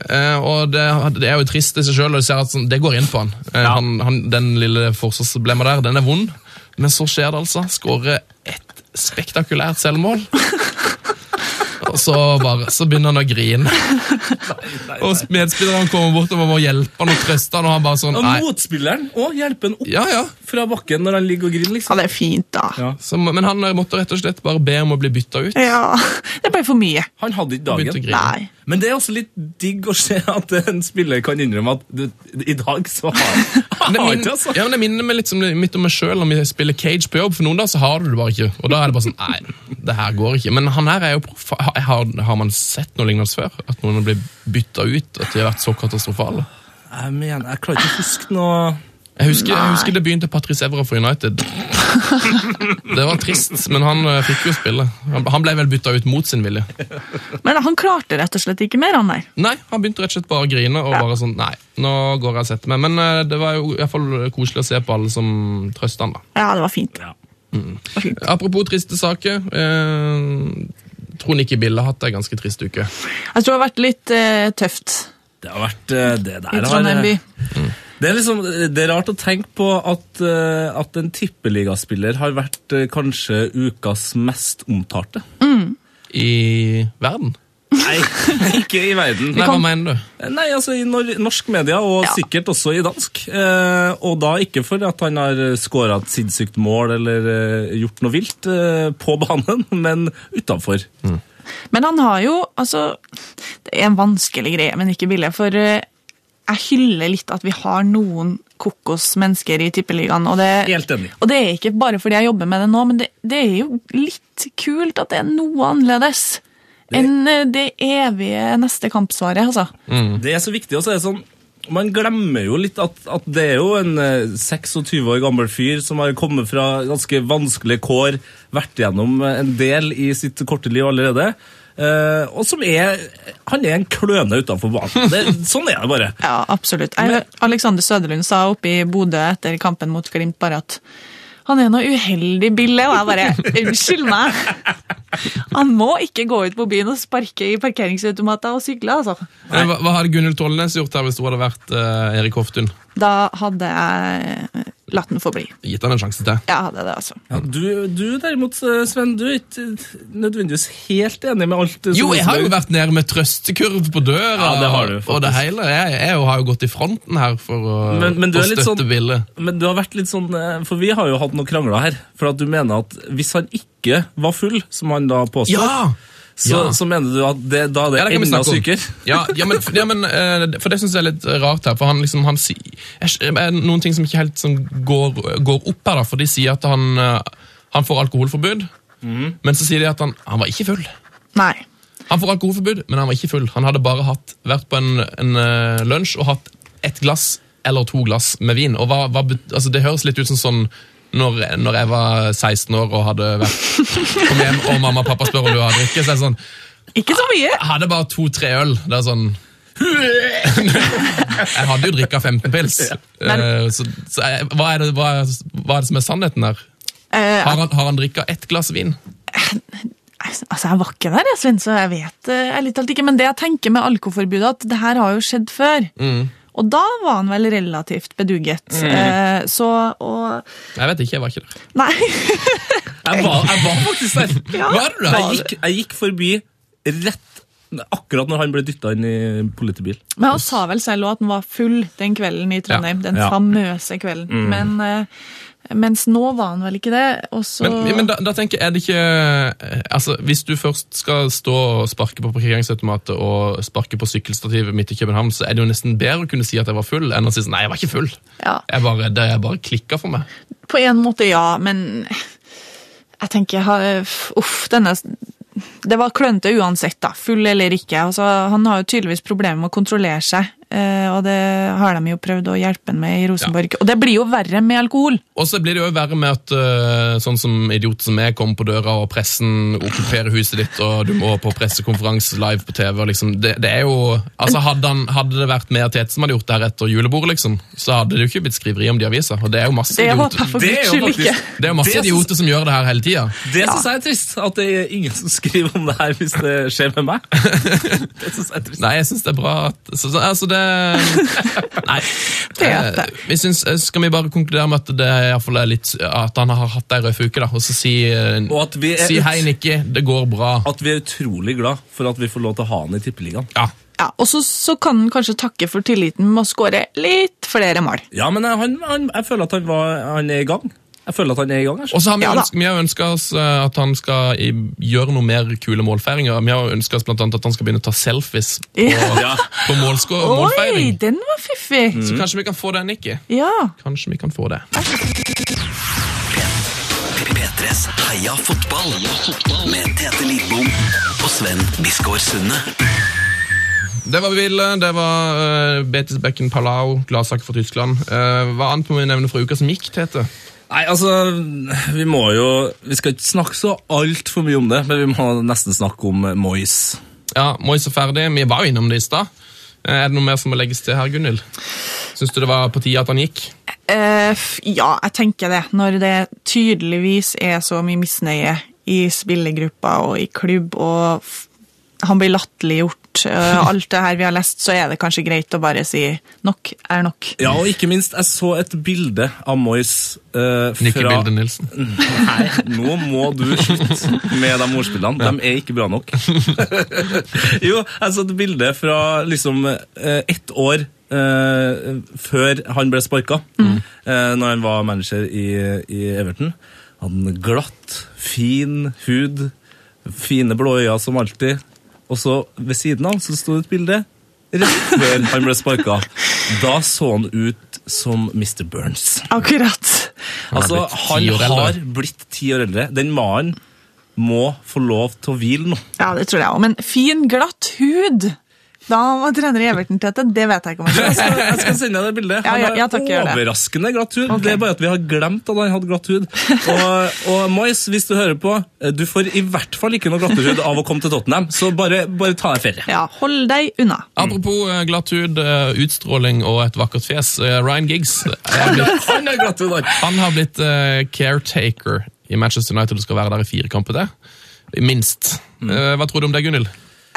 Eh, og det, det er jo trist i seg sjøl, og du ser at sånn, det går inn på han. Eh, han, han den lille forsvarsblemma der, den er vond, men så skjer det altså. Skårer et spektakulært selvmål. Og så, bare, så begynner han å grine. Og medspillerne kommer bort og må hjelpe han og trøste han, og han bare sånn Og Nei. motspilleren og hjelpen opp Ja, ja. fra bakken når han ligger og griner, Ja, liksom. det er fint, da. Ja. Så, men han eh, måtte rett og slett bare be om å bli bytta ut. Ja, Det ble for mye. Han hadde ikke Begynte å dagen. grine. Nei. Men det er også litt digg å se at en spiller kan innrømme at du, i dag så har jeg Det, har min, ikke, altså. ja, men det minner meg litt, som, litt om meg sjøl når vi spiller cage på jobb. For noen dager så har du det bare ikke. Og da er det bare sånn, nei, det her går ikke. Men han her er jo proff. Har, har- har man sett noe lignende før? At noen blir bytta ut? At de har vært så katastrofale? Jeg mener, jeg klarer ikke å huske noe Jeg husker, jeg husker det begynte Patrice Evra for United. Det var trist, men han eh, fikk jo spille. Han, han ble vel bytta ut mot sin vilje. Men han klarte rett og slett ikke mer, han der. Nei, han begynte rett og slett bare å grine. og bare sånn, nei, nå går jeg og setter meg. Men eh, det var jo i hvert fall koselig å se på alle som trøsta han da. Ja, det var fint. Ja. Det var fint. Apropos triste saker. Eh, tror Nikki Bille har hatt ei ganske trist uke. Jeg tror det har vært litt eh, tøft Det har vært eh, det der. i har- Trondheim by. Det er, liksom, det er rart å tenke på at, eh, at en tippeligaspiller har vært eh, kanskje ukas mest omtalte. I verden? Nei, ikke i verden. Nei, Nei, hva mener du? altså i nor norsk media, og Ja. sikkert også i dansk. Eh, og da ikke for at han har skåra et sinnssykt mål eller eh, gjort noe vilt eh, på banen, men utafor. Men han har jo, altså en vanskelig greie, men ikke billig. For eh, jeg hyller litt at vi har noen kokos mennesker i Tippeligaen. Og det, Helt enig. og det er ikke bare fordi jeg jobber med det nå, men det, det er jo litt kult at det er noe annerledes enn eh, det evige neste kampsvaret, altså. Mm. Det er så viktig, og så er det sånn man glemmer jo litt at, at det er jo en eh, 26 år gammel fyr som har kommet fra ganske vanskelige kår, vært gjennom eh, en del i sitt korte liv allerede, eh, og som er Han er en kløne utenfor banen. Det, sånn er det bare. Ja, absolutt. Jeg, Alexander Søderlund sa oppe i Bodø etter kampen mot Glimt bare at han er noe uheldig, Bille, og jeg bare Unnskyld meg! Han må ikke gå ut på byen og sparke i parkeringsautomater og sykle, altså. Men Eh, Hva, hva hadde Gunhild Tollnes gjort her hvis hun hadde vært eh, Erik Hoftun? Da hadde jeg latt den få bli. Gitt han en sjanse til. Jeg hadde det, altså. Ja, du, du derimot, eh, Sven, du er ikke eh, nødvendigvis helt enig med alt eh, som Jo, jeg har jo Rosenborg- vært nede med trøstekurv på døra. Ja, det har du, og det hele. Jeg, jeg har jo gått i fronten her for å, Men- men du å er litt støtte sånn- Ville. Men du har vært litt sånn, eh, for vi har jo hatt noen krangler her, for at du mener at hvis han ikke var full, som han da påstår, Ja! så, ja. så mener du at det, da er det, Ja, det kan vi enda snakke om. sykere? Ja, ja, men, ja, men eh, For det syns jeg er litt rart her. For han liksom, han sier jeg- er det Noen ting som ikke helt som går, går opp her, da. For de sier at han, eh, han får alkoholforbud, men så sier de at han, han var ikke full. Nei. Han får alkoholforbud, men han var ikke full. Han hadde bare hatt, vært på en, en eh, lunsj og hatt ett glass eller to glass med vin. Og hva, hva, bet- altså, det høres litt ut som sånn når, når jeg var 16 år og hadde vært kom hjem, og mamma og pappa spør om du har drikke, så er det sånn Ikke så mye! Jeg hadde bare to-tre øl. Det er sånn Jeg hadde jo drikka 15 pils. Eh, så så jeg, hva, er det, hva, er, hva er det som er sannheten der? Eh, Har han, har han drikka ett glass vin? Altså, Jeg var ikke der, jeg, Sven, så jeg vet eh, jeg litt alt ikke. Men det jeg tenker med alkoholforbudet, at det her har jo skjedd før. Og da var han vel relativt beduget. Eh, så og Jeg vet ikke, jeg var ikke der. Nei. Jeg var, jeg var faktisk der. Ja. Var du der? Jeg gikk, jeg gikk forbi rett akkurat når han ble dytta inn i politibil. Men han sa vel selv også at han var full den kvelden i Trondheim. Den Ja. famøse kvelden. Men eh, mens nå var han vel ikke det, og så Men, men da, da tenker jeg, er det ikke eh, Altså, Hvis du først skal stå og sparke på parkeringsautomatet og sparke på sykkelstativet midt i København, så er det jo nesten bedre å kunne si at jeg var full, enn å si sånn Nei, jeg var ikke full. Ja. Jeg bare, det jeg bare klikka for meg. På en måte ja, men jeg tenker ha- Uff, denne Det var klønete uansett, da. Full eller ikke. Altså, han har jo tydeligvis problemer med å kontrollere seg. eh, Og det har de jo prøvd å hjelpe han med i Rosenborg. Og det blir jo verre med alkohol. Og så blir det jo verre med at eh, sånn som idioter som meg kommer på døra, og pressen okkuperer huset ditt, og du må på pressekonferanse live på TV. og liksom, det, det er jo, altså Hadde, han, hadde det vært mer Tete som hadde gjort det her etter julebordet, liksom, så hadde det jo ikke blitt skriveri om det i avisa. Og det er jo masse Det håper idioter. jeg for Det er guds jo skyld ikke. faktisk- Det er jo masse Det synes- idioter som gjør det her hele tida. Det syns jeg er trist, at det er ingen som skriver om det her hvis det skjer med meg. Det synes jeg er trist. Nei, jeg syns det er bra at så, så, Altså, det Nei. Tete. Eh, Vi synes, eh, skal vi bare konkludere med at det er, i hvert fall er litt, at han har hatt ei røff uke, da, og så si, eh, Og at vi, si hei, er, Nikki, det går bra. at vi er utrolig glad for at vi får lov til å ha han i Tippeligaen. Ja. Ja, Og så, så kan han kanskje takke for tilliten med å skåre litt flere mål. Ja, men jeg- han, han, jeg føler at han, var, han er i gang. Jeg føler at han er i gang. jeg. Og så har vi, Ja jo da. ønsket, vi har jo ønska oss eh, at han skal i, gjøre noe mer kule målfeiringer. Vi har jo ønska oss blant annet at han skal begynne å ta selfies på, Ja. på målsko- Oi, målfeiring. den var fiffig! Så kanskje vi kan få det, Nikki. Ja. Kanskje vi kan få det. P3s Heia fotball med Tete Lidbom og Sven Biskår Sunde. Det var Ville, det var eh, Betisbekken Palau, gladsak for Tyskland. Eh, hva annet må vi nevne fra uka som gikk, Tete? Nei, altså, vi må jo Vi skal ikke snakke så altfor mye om det, men vi må nesten snakke om eh, Moyes. Ja, Moyes er ferdig. Vi var jo innom det i stad. Eh, er det noe mer som må legges til her, Gunhild? Syns du det var på tide at han gikk? Eh, f- ja, jeg tenker det. Når det tydeligvis er så mye misnøye i spillergruppa og i klubb, og f han blir latterliggjort, eh, alt det her vi har lest, så er det kanskje greit å bare si nok er nok. Ja, og ikke minst, jeg så et bilde av Moyes eh, Nikki fra Bilde Nilsen. Nei, nå må du slutte med de ordspillene. De er ikke bra nok. jo, jeg så et bilde fra liksom eh, ett år eh, før han ble sparka, eh, når han var manager i, i Everton. Han glatt, fin hud, fine blå øyne som alltid. Og så ved siden av så sto det et bilde rett før han ble sparka. Da så han ut som Mr. Burns. Akkurat. Han er Altså, blitt ti han år eldre. har blitt ti år eldre. Den mannen må få lov til å hvile nå. Ja, det tror jeg òg. Men fin, glatt hud! Da var trener Everton tete, det vet jeg ikke om. Jeg jeg skal, tror. jeg skal sende deg det bildet. Ja, Han ja, har ja, takk, gjør det. overraskende glatt hud. Det er bare at vi har glemt at han hadde glatt hud. Og, og Moyes, hvis du hører på, eh, du får i hvert fall ikke noe glattere hud av å komme til Tottenham, så bare, bare ta deg ferie. Ja, hold deg unna. Mm. Apropos eh, glatt hud, eh, utstråling og et vakkert fjes. eh, Ryan Giggs er blitt, Han har glatt hud, han. han har blitt eh, caretaker i Manchester United og skal være der i fire kamper til. Minst. Mm. Eh, Hva tror du om det, Gunhild?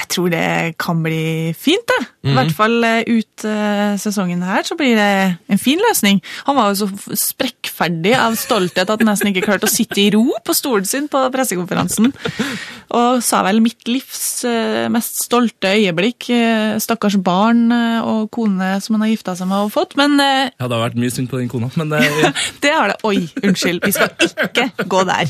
Jeg tror det kan bli fint, det. I hvert fall eh, ut eh, sesongen her, så blir det en fin løsning. Han var jo så f- sprekkferdig av stolthet at han nesten ikke klarte å sitte i ro på stolen sin på pressekonferansen. Og sa vel 'mitt livs eh, mest stolte øyeblikk'. eh, Stakkars barn eh, og kone som han har gifta seg med og fått. Men eh, Ja, det har vært mye synd på den kona, men eh, det har det Oi, unnskyld. Vi skal ikke gå der.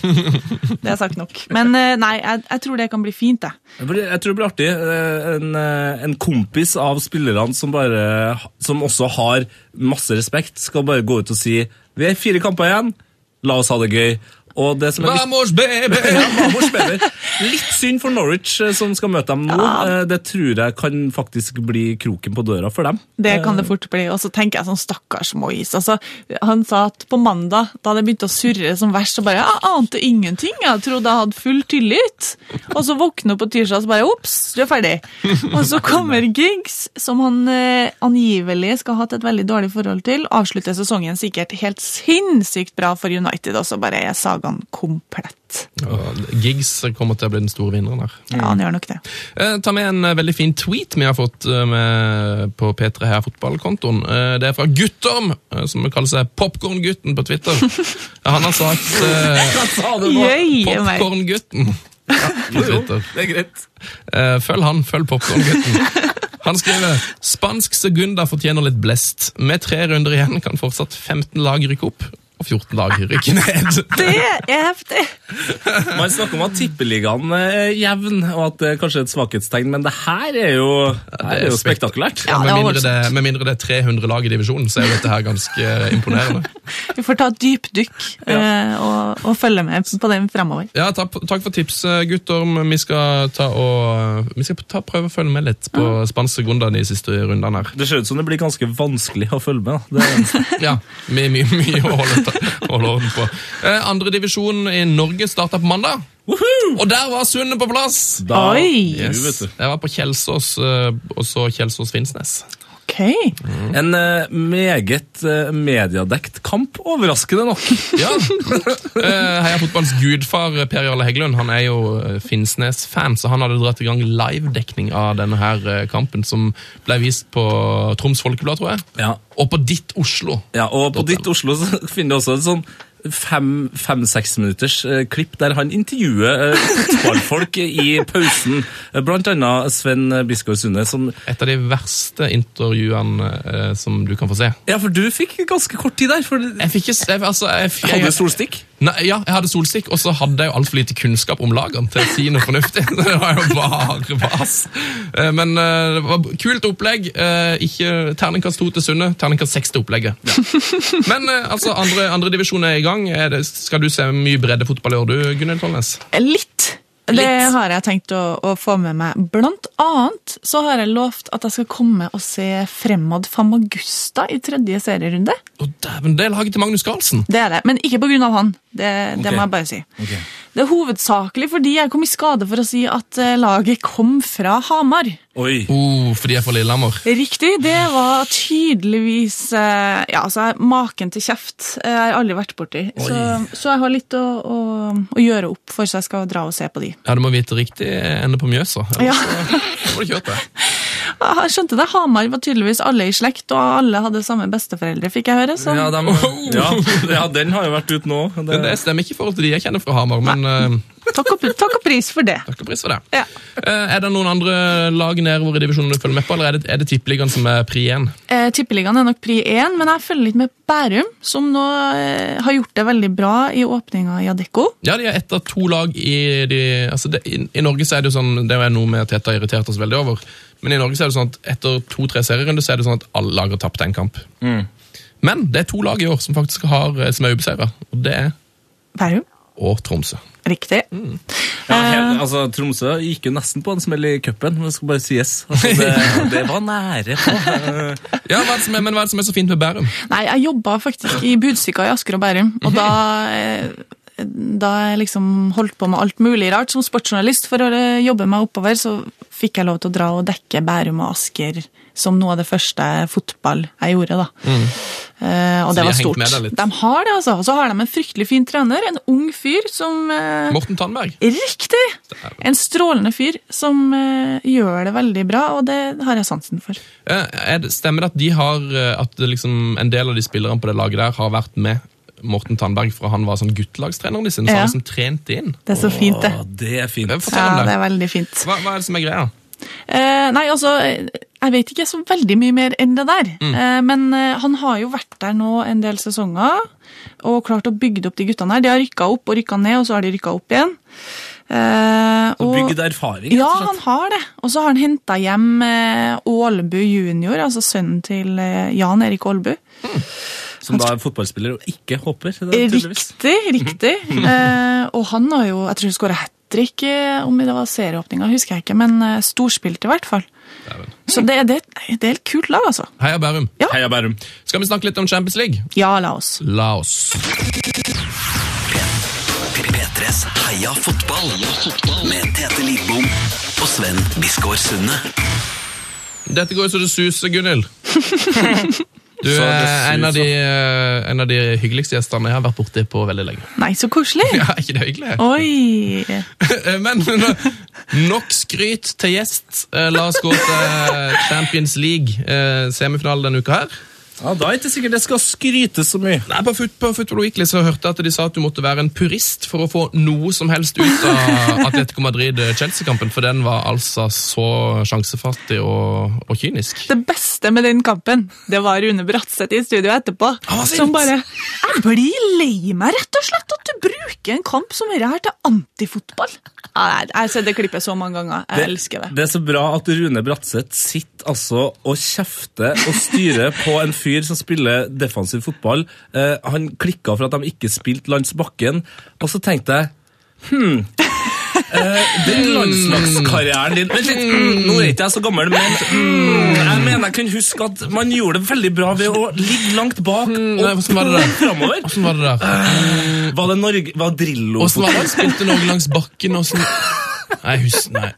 Det er sagt nok. Men eh, nei, jeg, jeg tror det kan bli fint, jeg. jeg blir- jeg tror det blir artig. eh, En, eh, en kompis av spillerne som, bare, som også har masse respekt, skal bare gå ut og si Vi er fire kamper igjen, la oss ha det gøy. Og det som er viktig- Vamos, baby! Ja, Vamos spiller. Litt synd for Norwich, eh, som skal møte dem nå. Eh, Det tror jeg kan faktisk bli kroken på døra for dem. Det kan det fort bli. Og så tenker jeg sånn, stakkars Moyes. Altså, han sa at på mandag, da det begynte å surre som verst, så bare Jeg ante ingenting. Jeg trodde jeg hadde full tillit. Og så våkner hun på tirsdag og så bare Ops, du er ferdig. Og så kommer Giggs, som han eh, angivelig skal ha hatt et veldig dårlig forhold til, avslutter sesongen sikkert helt sinnssykt bra for United, og så bare er sagaen komplett. Og Giggs kommer til å bli den store vinneren her. Ja, han gjør nok det. Eh, Ta med en eh, veldig fin tweet vi har fått eh, med på P3 her fotballkontoen. Eh, Det er fra Guttorm, eh, som kaller seg Popkorngutten på Twitter. Han har sagt eh, Jøye meg. Popkorngutten på Twitter. Det er greit. Eh, Følg han, følg Popkorngutten. Han skriver spansk Segunda fortjener litt blest. Med tre runder igjen kan fortsatt 15 lag rykke opp, og 14 lag rykke ned. Det er heftig. Man snakker om at tippeligaen er jevn, og at det er kanskje et svakhetstegn, men det her er jo, her er jo spekt- spektakulært. Ja, det med, var mindre det, med mindre det er 300 lag i divisjonen, så er jo dette her ganske eh, imponerende. Vi får ta et dypdykk eh, og, og følge med på den fremover. Ja, takk, takk for tips, eh, gutter. Vi skal, ta og, eh, vi skal ta, prøve å følge med litt på spansk segunda de siste rundene her. Det ser ut som det blir ganske vanskelig å følge med. Da. Det er eneste. Ja, Mye mye, mye å holde, ta- holde orden på. Eh, andre divisjon i Norge starta på mandag, Woohoo! og der var Sundet på plass! Da, Oi! Du, vet du. Jeg var på Kjelsås, eh, og så Kjelsås-Finnsnes. Ok. En eh, meget eh, mediedekt kamp, overraskende nok. Ja. Eh, Heia fotballens gudfar eh, Per Jarle Heggelund han er jo eh, Finnsnes-fan, så han hadde dratt i gang livedekning av denne her eh, kampen, som ble vist på Troms Folkeblad, tror jeg. Ja. Og på Ditt Oslo. Ja, og på Dot Ditt Oslo så finner du også en sånn fem-seks minutters eh, klipp der han intervjuer eh, fotballfolk i pausen. Eh, Blant annet Sven Biskår Sunde, som Et av de verste intervjuene eh, som du kan få se. Ja, for du fikk ganske kort tid der. for Jeg fikk ikke s- jeg, altså, jeg, jeg, Hadde solstikk? Nei, ja, jeg hadde solstikk, og så hadde jeg jo altfor lite kunnskap om lagene til å si noe fornuftig. Det var jo bare vas. Eh, Men eh, det var kult opplegg. eh, Ikke terningkast to til Sunne, terningkast seks til opplegget. Men eh, altså, andre, andre divisjon er i gang. Er det, skal du se mye breddefotball i år, du, Gunnhild Tollnes? Litt. Det har jeg tenkt å, å få med meg. Blant annet så har jeg lovt at jeg skal komme og se Fremad Famagusta i tredje serierunde. Å, dæven, det er laget til Magnus Carlsen. Det er det, men ikke på grunn av han. Det, det Ok. må jeg bare si. Det er hovedsakelig fordi jeg kom i skade for å si at eh, laget kom fra Hamar. Oi. Oh, fordi jeg er fra Lillehammer. Riktig, det var tydeligvis eh, ja, altså, maken til kjeft. eh, Jeg har aldri vært borti. Så, så jeg har litt å, å, å gjøre opp for, så jeg skal dra og se på de. Ja, du må vite riktig ende på Mjøsa. Ja. Da må du kjørt det. Jeg skjønte det. Hamar var tydeligvis alle i slekt, og alle hadde samme besteforeldre, fikk jeg høre. Så Ja, dem- ja, ja, den har jo vært ute nå. Det, Det stemmer ikke i forhold til de jeg kjenner fra Hamar, men eh, Takk og, takk og pris for det. Takk og pris for det. Ja. Eh, Er det noen andre lag nedover i divisjonen du følger med på, eller er det, er det tippeligaen som er pri én? Eh, Tippeligaen er nok pri én, men jeg følger litt med Bærum, som nå eh, har gjort det veldig bra i åpninga i Adecco. Ja, de er ett av to lag i de altså det, i, I Norge så er det jo sånn Det er noe med Teta har irritert oss veldig over. Men i Norge så er det sånn at etter to-tre serierunder så er det sånn at alle lag har tapt en kamp. Men det er to lag i år som faktisk har, eh, som er ubeseira, og det er Bærum. og Tromsø. Riktig. Ja, Eh. helt, altså, Tromsø gikk jo nesten på en smell i cupen, men det skal bare sies. Altså, det, det var nære på. Ja, hva er det som er, Men hva er det som er så fint med Bærum? Nei, jeg jobba faktisk i Budstikka i Asker og Bærum, og da eh, da jeg liksom holdt på med alt mulig rart som sportsjournalist for å eh, jobbe meg oppover, så fikk jeg lov til å dra og dekke Bærum og Asker som noe av det første fotball jeg gjorde, da. Eh, og Mm. de har det var hengt stort. med deg litt. De har det, altså. Og så har de en fryktelig fin trener, en ung fyr som eh, Morten Tandberg. Riktig! En strålende fyr som eh, gjør det veldig bra, og det har jeg sansen for. Eh, Er det, stemmer det at de har, eh, at det liksom en del av de spillerne på det laget der har vært med Morten Tandberg fra han var sånn guttelagstreneren de sin? Så Ja. han liksom trente inn? Det er så fint, det. Å, det er fint. Eh, Fortell Ja, om det det. er veldig fint. Hva, hva er det som er greia? Eh, nei, altså, eh, jeg vet ikke så veldig mye mer enn det der. Mm. Eh, men eh, han har jo vært der nå en del sesonger, og klart å bygge opp de guttene her. De har rykka opp og rykka ned, og så har de rykka opp igjen. Eh, Og og- Bygd erfaring, Ja, rett og han slett. har det. Og så har han henta hjem eh, Ålbu junior, altså sønnen til eh, Jan Erik Ålbu. altså, Som da er fotballspiller og ikke hopper. Det, er tydeligvis. Eh, Riktig, riktig. Mm. Eh, og han har jo Jeg tror han skåra hat trick, eh, om det var serieåpninga, husker jeg ikke, men eh, storspilt i hvert fall. Så det, det, det er et kult lag, altså. Heia Bærum. Heia Bærum. Skal vi snakke litt om Champions League? Ja, la oss. La oss. P3s Heia fotball med Tete Lidbom og Sven Biskår Sunde. Dette går jo så det suser, Gunhild. Du Så det er en av, de, suser. eh, en av de hyggeligste gjestene jeg har vært borti på veldig lenge. Nei, så koselig! Ja, er ikke det hyggelig? Eh, Oi! Men nå- nok skryt til gjest. Eh, La oss gå til eh, Champions League, eh, semifinale denne uka her. Ja, da er det ikke sikkert det skal skrytes så mye. Nei, på, fut, på Football Weekly så hørte jeg at de sa at du måtte være en purist for å få noe som helst ut av Atletico Madrid-Chelsea-kampen, for den var altså så sjansefattig og, og kynisk. Det beste med den kampen, det var Rune Bratseth i studio etterpå. var sint. Som bare Jeg blir lei meg, rett og slett, at du bruker en kamp som dette her til antifotball. Nei, Jeg har sett det klippet så mange ganger. Jeg elsker det. Det er så bra at Rune Bratseth sitter altså og kjefter og styrer på en fyr som spiller defensiv fotball. Eh, han klikka for at de ikke spilte langs bakken, og så tenkte jeg Hmm. Eh, den landslagskarrieren din Vent litt, hmm, nå er ikke jeg så gammel, men hmm, jeg mener jeg kunne huske at man gjorde det veldig bra ved å ligge langt bak Hmm, nei, og hvordan var det der? framover. Hvordan var det der? Var det Norge Var Åssen Drillo-fotball? var det? Spilte Norge langs bakken og sånn Nei, hus, nei.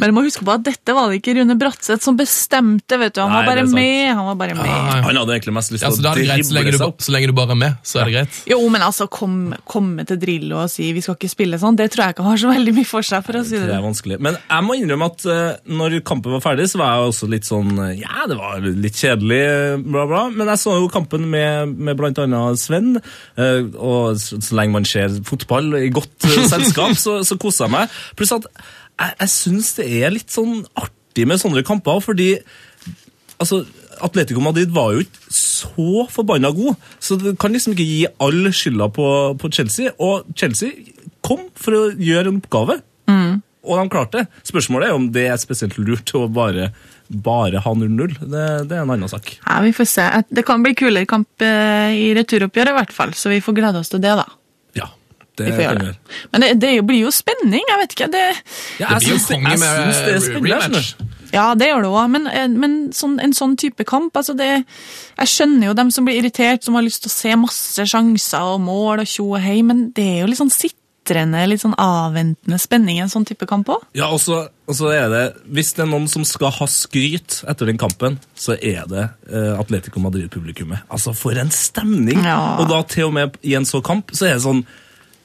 Men du må huske på at dette var det ikke Rune Bratseth som bestemte. vet du. Han Nei, var det er bare sant. med. han var bare med. Ah, ja. Han hadde egentlig mest lyst Ja, til så da å er det greit, så lenge, drible du, seg opp. så lenge du bare er med, så er det greit. Jo, men altså, kom- komme til Drillo og si vi skal ikke spille sånn, det tror jeg ikke har så veldig mye for seg. for å si Det det. er vanskelig. Men jeg må innrømme at eh, når kampen var ferdig, så var jeg også litt sånn eh, Ja, det var litt kjedelig, eh, bla, bla. Men jeg så jo kampen med, med blant annet Sven. eh, og så, så lenge man ser fotball i godt eh, selskap, så, så koser jeg meg. Pluss at jeg, jeg syns det er litt sånn artig med sånne kamper, fordi altså, Atletico Madrid var jo ikke så forbanna god, så du kan liksom ikke gi all skylda på, på Chelsea. Og Chelsea kom for å gjøre en oppgave, og de klarte det. Spørsmålet er om det er spesielt lurt å bare, bare ha 0-0. Det, det er en annen sak. Ja, vi får se. Det kan bli kulere kamp eh, i returoppgjøret, i hvert fall, så vi får glede oss til det. da. Ja, Vi det får kan gjøre vi det. gjøre. Men det, det blir jo spenning. jeg vet ikke. Det, Ja, jeg blir jo syns det, konge jeg med eh, syns det er spennende. jeg rematch. skjønner. ja, det gjør det òg, men, eh, men sånn, en sånn type kamp altså det, Jeg skjønner jo dem som blir irritert, som har lyst til å se masse sjanser og mål og tjo og hei, men det er jo litt sånn sitrende, litt sånn avventende spenning i en sånn type kamp òg. Ja, og så, og så er det, Hvis det er noen som skal ha skryt etter den kampen, så er det eh, Atletico Madrid-publikummet. Altså, for en stemning! Ja. Og da til og med i en så kamp, så er det sånn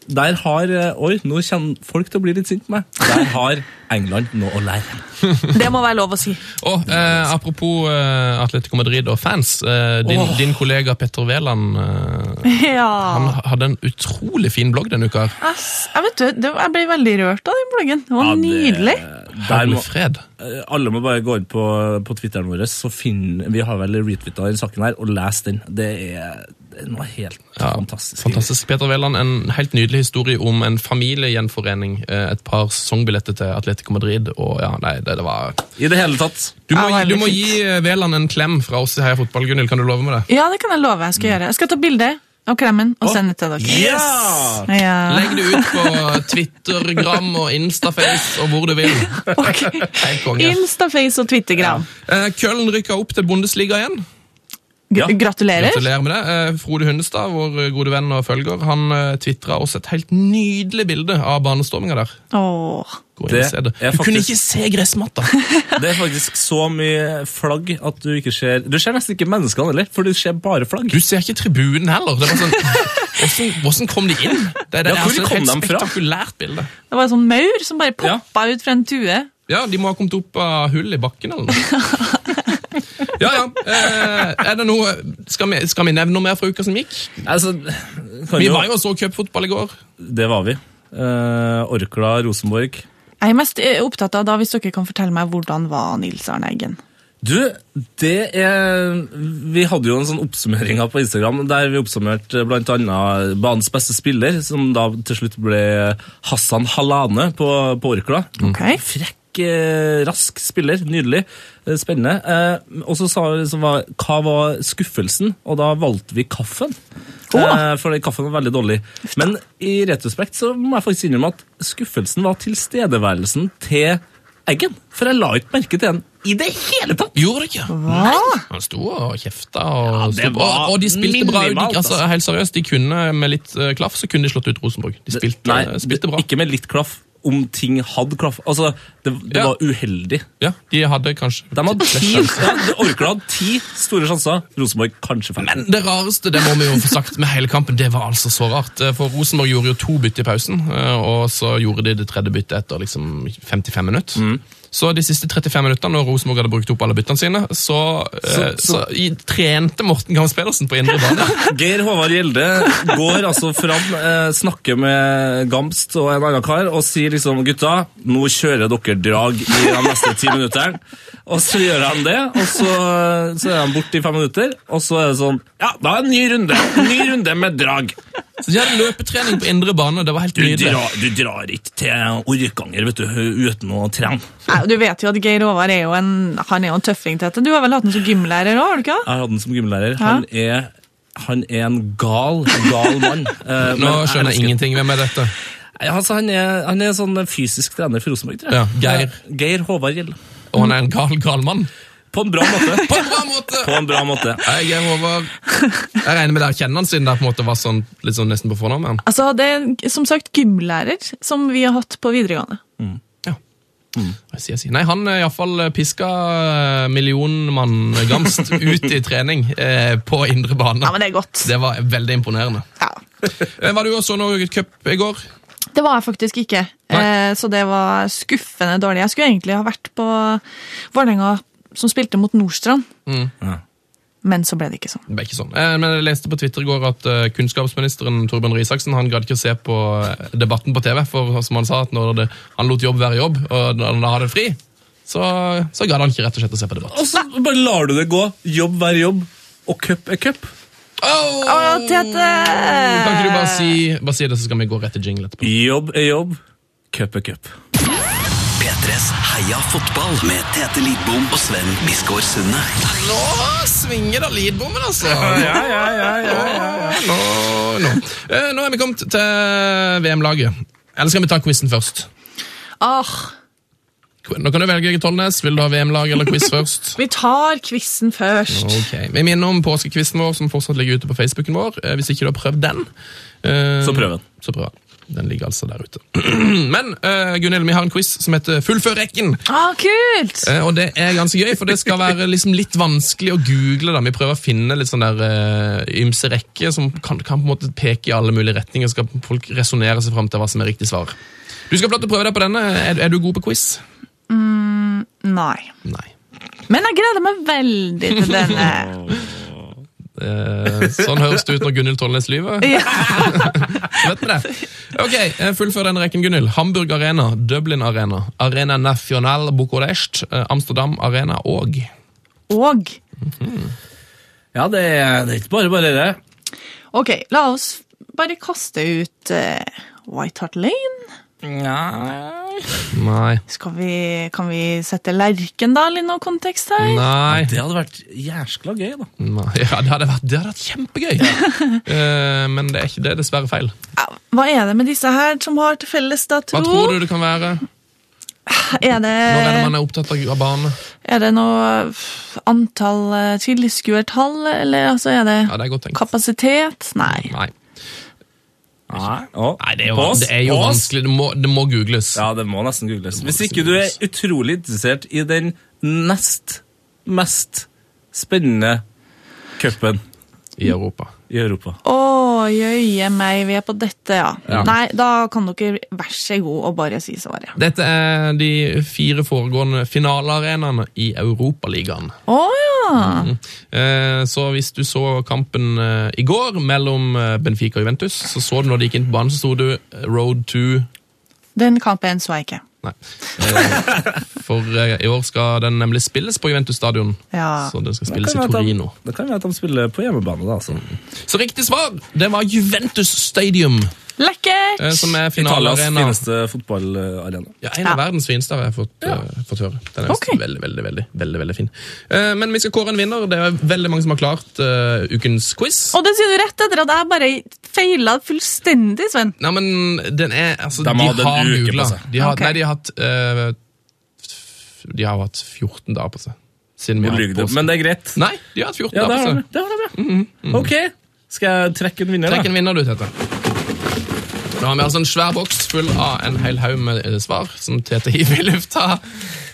Der har eh, Oi, nå kommer folk til å bli litt sint på meg. Der har England noe å lære. Det må være lov å si. Og eh, apropos eh, Atletico Madrid og fans. Eh, din, Åh. din kollega Petter Wæland eh, han Ja. hadde en utrolig fin blogg denne uka. her. Ass, jeg, vet, du, det- jeg ble veldig rørt av den bloggen. Det var Ja, det- nydelig. Der Herlig må, fred. eh, alle må bare gå inn på, på Twitteren vår, så finner Vi har vel retwitta den saken her, og les den. Det er, det er noe helt Ja, fantastisk. Fantastisk. Peter Wæland, en helt nydelig historie om en familiegjenforening. eh, Et par sesongbilletter til Atletico Madrid, og ja, nei, det, det var I det hele tatt. Du må, Ja, veldig du må fint. gi eh, Wæland en klem fra oss i Heia Fotball, Gunhild. Kan du love meg det? Ja, det kan jeg love jeg skal gjøre. Jeg skal ta bilde av klemmen og sende til dere. Yes! Ja. Legg det ut på Twitter, Gram og Instaface og hvor du vil. Ok. Helt konge. Instaface og Twittergram. Eh, Køllen rykka opp til Bundesliga igjen. Ja. Gr- Gratulerer. Gratulerer med det. Eh, Frode Hundestad, vår gode venn og følger, han tvitra også et helt nydelig bilde av banestorminga der. Åh. Gå inn Det og se det. er Du kunne faktisk- ikke se gressmatta! Det er faktisk så mye flagg at du ikke ser Du ser nesten ikke menneskene heller, for du ser bare flagg. Du ser ikke tribunen heller. Det er bare sånn, hvordan, hvordan kom de inn? Det, Ja, det, er hvor altså et kom helt de fra? spektakulært bilde. Det var en sånn maur som bare poppa ut fra en tue. Ja, de må ha kommet opp av hull i bakken eller noe. Ja, ja. Eh, er det noe, skal, vi, skal vi nevne noe mer fra uka som gikk? Altså, kan Vi jo- var jo og så cupfotball i går. Det var vi. Eh, Orkla, Rosenborg. Jeg er mest eh, opptatt av da hvis dere kan fortelle meg hvordan var Nils Arne Eggen. Du, det er Vi hadde jo en sånn oppsummering her på Instagram der vi oppsummerte bl.a. banens beste spiller, som da til slutt ble Hassan Halane på, på Orkla. Ok. Frekk, eh, rask spiller. Nydelig. eh, Spennende. Eh, og så sa så var, hva var skuffelsen, og da valgte vi kaffen. Eh, for kaffen var veldig dårlig. Men i retrospekt så må jeg faktisk innrømme at skuffelsen var tilstedeværelsen til Eggen. For jeg la ikke merke til den i det hele tatt. Gjorde det ikke? Hva? Han sto og kjefta, og, sto det på, var og de spilte bra. ut. minimalt, De, altså, altså. helt seriøst, de kunne med litt eh, klaff så kunne de slått ut Rosenborg. De spilte, eh, Nei, spilte bra. ikke med litt klaff. Om ting hadde klaff. Altså, det, det Ja. var uheldig. Ja, de hadde kanskje De hadde ti, ja, Orkla hadde ti store sjanser. Rosenborg kanskje fem. Men det rareste, det må vi jo få sagt med hele kampen, det var altså så rart. Eh, For Rosenborg gjorde jo to bytte i pausen, eh, og så gjorde de det tredje byttet etter liksom 55 minutter. Mm. Så de siste 35 minuttene, når Rosenborg hadde brukt opp alle byttene sine, så, eh, Så- så, i, trente Morten Gams Pedersen på indre bane. Geir Håvard Gjelde går altså fram, eh, snakker med Gamst og en annen kar og sier liksom Gutta, nå kjører dere drag i de neste ti minuttene. Og så gjør han det, og så, så er han borte i fem minutter. Og så er det sånn Ja, da er det en ny runde. Ny runde med drag. Så de hadde løpetrening på indre bane, og det var helt Du nydelig. drar, du drar ikke til Orkanger vet du, uten å trene. Nei, og Du vet jo at Geir Håvard er jo en, han er jo en tøffing til dette. Du har vel hatt ham som gymlærer òg, har du ikke? Jeg hadde han som gymlærer. Han, er, han er en gal, gal mann. Eh, Nå men skjønner jeg elsker- ingenting. Hvem er dette? Altså, han, er, han er sånn fysisk trener for Rosenborg, tror jeg. Ja, Geir. Eh, Geir Håvard Gjell. Og han er en gal, gal mann. På en bra måte. På en bra måte! På en bra måte. Jeg, er over. jeg regner med dere kjenner han siden det på en måte var sånn, litt sånn nesten på fornavn med han. Altså, Det er en- som sagt gymlærer som vi har hatt på videregående. Hva sier jeg, sier? Nei, han iallfall piska eh, millionmann Gamst ut i trening eh, på indre bane. Ja, men Det er godt. Det var veldig imponerende. Ja. Eh, Var du også noe cup i går? Det var jeg faktisk ikke, Nei. eh, så det var skuffende dårlig. Jeg skulle egentlig ha vært på Vålerenga som spilte mot Nordstrand, Mm. Ja. men så ble det ikke sånn. Det var ikke sånn. Eh, Men jeg leste på Twitter i går at eh, kunnskapsministeren Torbjørn Røe Isaksen han gadd ikke å se på eh, debatten på TV, for eh, som han sa, at når det, han lot jobb være jobb, og når han hadde fri, så, så gadd han ikke rett og slett å se på debatt. Og så bare lar du det gå. Jobb hver jobb. Og cup er cup. Å, Tete! Kan ikke du bare si, bare si det, så skal vi gå rett til jingle etterpå? Jobb er jobb. Cup er cup. P3s Heia fotball med Tete Lidbom og Sven Biskår Sunde. Nå svinger det lydbommen, altså! Ja, ja, ja, Nå, nå. Eh, nå er vi kommet til VM-laget. Eller skal vi ta quizen først? Ah, Nå kan du velge, Egil Tollnes. Vil du ha VM-lag eller quiz først? vi tar quizen først. Ok, Vi minner om påskekvisten vår, som fortsatt ligger ute på Facebooken vår. Eh, Hvis ikke du har prøvd den, eh, Så prøv den. Så prøv den. Den ligger altså der ute. Men eh, Gunhild, vi har en quiz som heter Fullfør rekken. Ah, kult! Eh, og det er ganske gøy, for det skal være liksom litt vanskelig å google. da. Vi prøver å finne litt sånn der eh, ymse rekke som kan, kan på en måte peke i alle mulige retninger. Skal folk resonnere seg fram til hva som er riktig svar. Du skal få lov til å prøve deg på denne. Er, er du god på quiz? Nei. Nei. Men jeg gleder meg veldig til denne. Eh, sånn høres det ut når Gunhild Tollnes lyver. Ja. Vet vi det? Ok, eh, Fullfør den rekken, Gunhild. Hamburg Arena, Dublin Arena, Arena Nacional Bucuresti, eh, Amsterdam Arena og Og Ja, det er, det er ikke bare bare det. Ok, la oss bare kaste ut eh, White Hart Lane. Nei. Nei. Skal vi, kan vi sette Lerkendal i noen kontekst her? Nei. Det hadde vært jæskla gøy, da. Nei. Ja, det hadde vært, det hadde vært kjempegøy. Eh, men det er ikke det er dessverre feil. Ja, Hva er det med disse her som har til felles, da, tro? Hva tror du det kan være Er når er det man er det, opptatt av av bane? er det noe f- antall eh, tilskuertall, eller altså er det, Ja, det er godt tenkt. kapasitet? Nei. Nei. Nei, å, Nei, det er jo, pass, det er jo pass. vanskelig. Det må, det må googles. Ja, det må nesten googles. Hvis nesten ikke du er googles. utrolig interessert i den nest mest spennende cupen I Europa. i Europa. Å, jøye meg, vi er på dette, ja. Nei, da kan dere være så god og bare si svaret. Dette er de fire foregående finalearenaene i Europaligaen. Å ja! Eh, Så hvis du så kampen eh, i går mellom eh, Benfica og Juventus, så så du når de gikk inn på banen, så sto du eh, Road to Den kampen så jeg ikke. Nei. Eh, For eh, i år skal den nemlig spilles på Juventus stadion. Ja. Så den skal Det spilles kan i være at de- Torino. Det kan være at de spiller på hjemmebane, da. altså. Så riktig svar det var Juventus Stadium, Lekkert! eh, som er Italias finalearena. fineste fotballarena. Ja, en av Ja. verdens fineste har jeg fått, eh, fått høre. Den er Ok. visst veldig, veldig, veldig, veldig, veldig fin. Eh, men vi skal kåre en vinner. Det er veldig mange som har klart eh, ukens quiz. Og det sier du rett etter at jeg bare feila fullstendig, Sven. Nei, men den er altså, De De, har hatt en har uke på googla. seg. De, har- Ok. Nei, de har hatt eh, f- De har hatt 14 dager på seg. Siden vi Hvor har lyg det, påske. Men det er greit. Nei, de har hatt 14 Ja, det dager på har seg. de. Det har de, ja. Ok, skal jeg mm. trekke en vinner, da? Trekk en vinner, du, Tete. Da har vi altså en svær boks full av en hel haug med eh, svar som Tete hiver i lufta.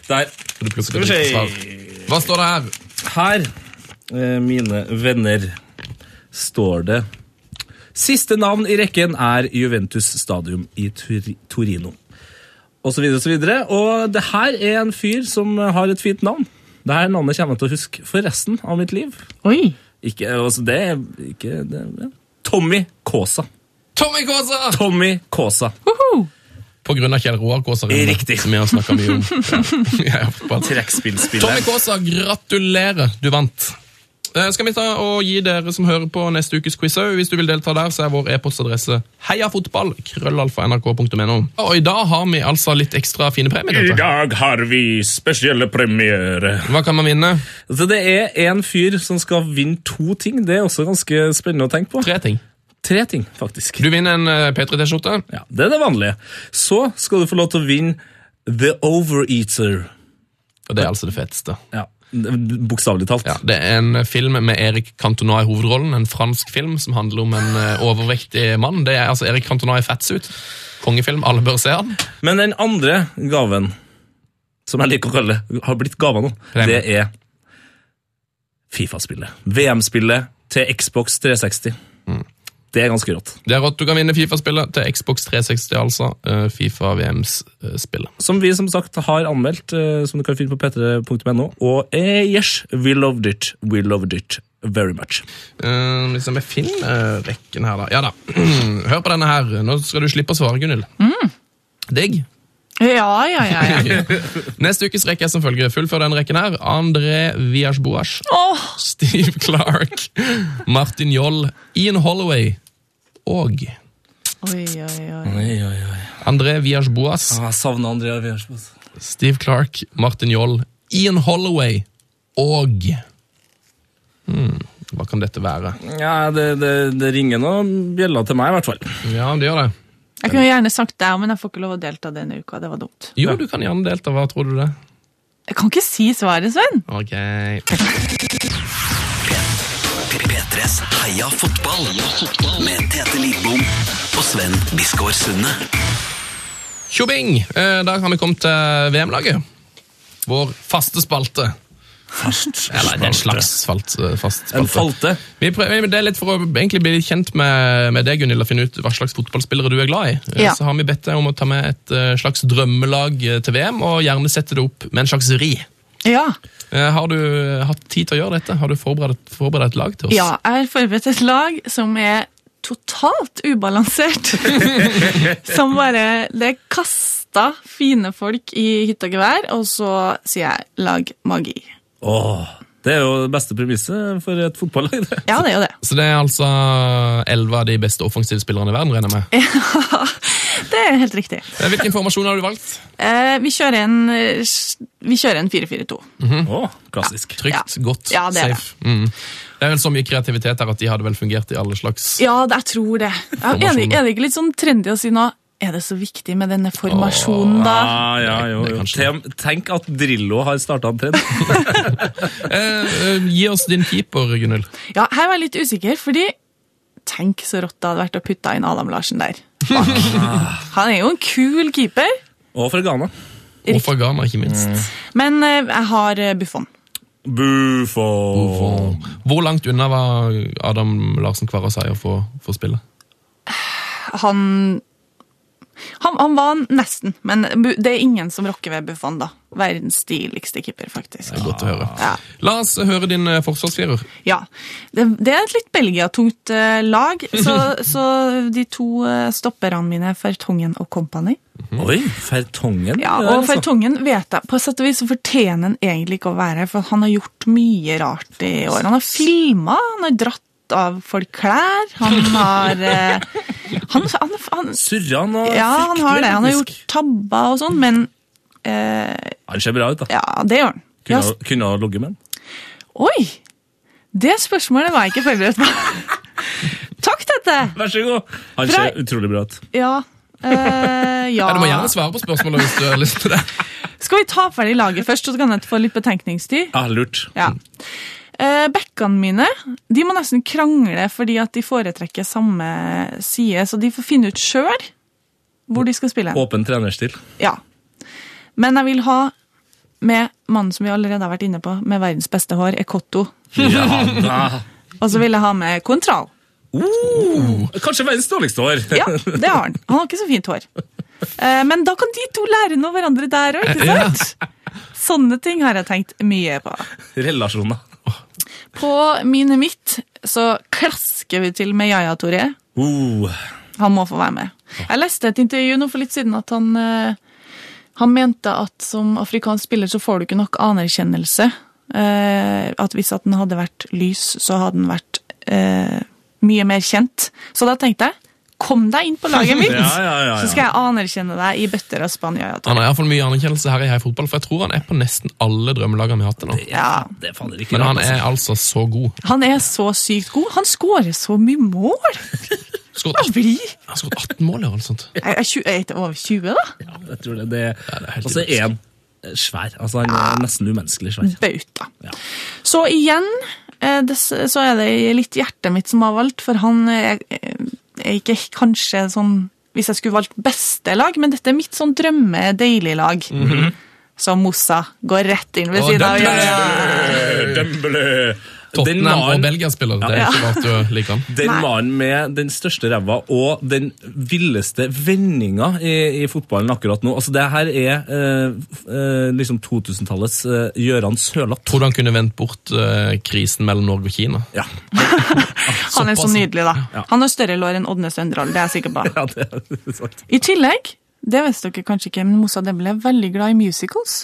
Der. Så du plukker vi et riktig se. svar. Hva står det her? Her, eh, mine venner, står det Siste navn i rekken er Juventus Stadium i Tur Torino. Og så videre og så videre. Og det her er en fyr som har et fint navn. Det her navnet kommer jeg til å huske for resten av mitt liv. Oi. Ikke, altså det er ikke det, ja. Tommy Kaasa. Tommy Kaasa! Tommy Kaasa. På grunn av Kjell Roar Kaasa. Riktig. Som vi har snakka mye om. Ja, ja, bare- Tommy Trekkspillspiller. Kaasa, gratulerer. Du vant. Eh, Skal vi ta og gi dere som hører på neste ukes quiz òg. Hvis du vil delta der, så er vår e-postadresse heiafotball.krøllalfa.nrk.no. Og i dag har vi altså litt ekstra fine premier. Tete. dag har vi spesielle premiere. Hva kan man vinne? Så det er en fyr som skal vinne to ting. Det er også ganske spennende å tenke på. Tre ting. Tre ting, faktisk. Du vinner en eh, P3T-skjorte. Ja, det er det vanlige. Så skal du få lov til å vinne The Overeater. Og det er altså det feteste. Ja, Bokstavelig talt. Ja, det er en eh, film med Erik Cantona i hovedrollen. En fransk film som handler om en eh, overvektig mann. Det er altså Erik Cantona i fatsuit. Kongefilm. Alle bør se han. Men den andre gaven, som jeg liker å kalle det, har blitt gava nå, Premie. det er Fifa-spillet. VM-spillet til Xbox 360. Det er ganske rått. Det er rått. Du kan vinne Fifa-spillet til Xbox 360, altså. eh, Fifa eh, VMs-spillet. Som vi som sagt har anmeldt, eh, som du kan finne på p3.no. Og eh, yes, we loved it. We loved it very much. Uh, hvis jeg finner eh, rekken her, da. Ja da. Hør på denne her. Nå skal du slippe å svare, Gunhild. Digg. Ja, ja, ja. ja. Neste ukes rekke er som følger. Fullfør den rekken her. André Viasboas, Åh, Steve Clark, Martin Joll, Ian Holloway og Oi, oi, oi. Oi, oi, oi. André Viasboas, Jeg savner Andrea Wiersbo. Steve Clark, Martin Joll, Ian Holloway og hmm, Hva kan dette være? Ja, det, det, det ringer noen bjeller til meg, i hvert fall. Ja, det gjør det. Jeg kunne gjerne sagt det, men jeg får ikke lov å delta denne uka. Det var dumt. Jo, du kan gjerne delta. Hva tror du det? Jeg kan ikke si svaret, Sven. Ok. P- P- P3. P3s Heia fotball med Tete Lidbom og Sven Biskår Sunde. Tjobing! Eh, Da har vi kommet til VM-laget. Vår faste spalte. Eller det er en slags svalt, eh, fast En spalte. falte. Vi prøver, men det er litt for å egentlig bli kjent med, med deg, Gunilla, finne ut hva slags fotballspillere du er glad i. Eh, Ja. Så har vi bedt deg om å ta med et eh, slags drømmelag eh, til VM, og gjerne sette det opp med en slags ri. Ja. Eh, Har du eh, hatt tid til å gjøre dette? Har du forberedt, forberedt et lag til oss? Ja, jeg har forberedt et lag som er totalt ubalansert. som bare Det er kasta fine folk i hytt og gevær, og så sier jeg 'lag magi'. Åh, det er jo det beste premisset for et fotballag. det. Ja, det er jo det. Så det er altså elleve av de beste offensive spillerne i verden, regner jeg med. Det er helt riktig. Eh, Hvilken formasjon har du valgt? Eh, vi kjører en, eh, s- vi kjører en 4-4-2. Åh, klassisk. Trygt, Ja. godt, Ja, det er det. safe. Mm. Det er vel så mye kreativitet her at de hadde vel fungert i alle slags Ja, det- jeg tror det. Ja, er, det er det ikke litt sånn trendy å si nå Er det så viktig med denne formasjonen, da? Ja, ja, jo, Det er jo. kanskje Tem- Tenk at Drillo har starta en trend. eh, eh, Gi oss din keeper, Gunhild. Ja, her var jeg litt usikker, fordi Tenk så rått det hadde vært å putte inn Adam Larsen der. Han er jo en kul keeper. Og fra Ghana. Og fra Ghana, ikke minst. Men eh, jeg har eh, Buffon. Buffo. Og Hvor langt unna var Adam Larsen Kvarra seier for, for spillet? Han, han Han var nesten, men bu- det er ingen som rocker ved Buffon, da. Verdens stiligste keeper, faktisk. Det er godt å høre. Ja. La oss høre din eh, forsvarsfirer. Ja. Det, det er et litt Belgia-tungt eh, lag, så, så de to eh, stopperne mine, Fertongen og Company Oi, Fertongen. Ja, der, Og altså. Fertongen vet jeg på et sett og vis så fortjener han egentlig ikke å være her, for han har gjort mye rart i år. Han har filma, han har dratt av folk klær, han har eh, han, han, han, Surra han og Ja, fryktelig han har det. Han har teknisk. gjort tabber og sånn, men eh, Han ser bra ut, da. Ja, det gjør han. Ja, Kunne, ha- kunne ha ligget med han. oi! Det spørsmålet var jeg ikke forberedt på. Takk, Tette! Vær så god. Han Fra- ser utrolig bra ut. Ja. eh, ja. Ja, du må gjerne svare på spørsmålet hvis du har lyst til det. Skal vi ta ferdig laget først, så kan jeg få litt betenkningstid? Ja, lurt. Ja. Eh, Bekkene mine de må nesten krangle fordi at de foretrekker samme side, så de får finne ut sjøl hvor de skal spille. Åpen trenerstil. Ja. Men jeg vil ha med mannen som vi allerede har vært inne på, med verdens beste hår, Ekotto. Ja, da. Og så vil jeg ha med Contral. Uh, kanskje verdens dårligste år. Ja, det har han. Han har ikke så fint hår. Eh, Men da kan de to lære noe av hverandre der òg, ikke sant? Sånne ting har jeg tenkt mye på. Relasjoner. På mine mitt så klasker vi til med Yaya Toré. Uh, Han må få være med. Jeg leste et intervju nå for litt siden at han, eh, han mente at som afrikansk spiller så får du ikke nok anerkjennelse. Eh, At hvis at den hadde vært lys, så hadde den vært eh, mye mer kjent. Så da tenkte jeg, kom deg inn på laget mitt! Ja, ja, ja, ja. Så skal jeg anerkjenne deg i bøtter av Spania. Han har iallfall mye anerkjennelse her i Heia Fotball, for jeg tror han er på nesten alle drømmelagene vi har hatt til nå. Ja. det er fader ikke Men rart, altså. han er altså så god. Han er så sykt god. Han skårer så mye mål! Skåret 18, Han blir han har skåret 18 mål, eller noe sånt. Jeg er tjue- jeg er over 20, da. Ja, jeg tror det, det, er helt Og så er han eh, svær. Altså, han er nesten umenneskelig svær. Bauta. Ja. Så igjen eh, det, så er det litt hjertet mitt som har valgt, for han er, er ikke kanskje sånn Hvis jeg skulle valgt beste lag, men dette er mitt sånn drømme-deilig lag. Så Mossa går rett inn ved Å, siden av. den- Ja, ja. Dembélé! Den Tottenham og mannen Belgia-spiller. Det er ikke rart du liker han. den Nei. mannen med den største ræva og den villeste vendinga i, i fotballen akkurat nå. Altså, det her er eh, f- eh, liksom 2000-tallets eh, Gøran Sørloth. Tror du han kunne vendt bort eh, krisen mellom Norge og Kina? Ja. Han er så Såpass. nydelig, da. Ja. Han har større lår enn Odne Søndral, det er jeg sikker på. ja, det er sant. I tillegg, det visste dere kanskje ikke, men Mossa Dembélé er veldig glad i musicals.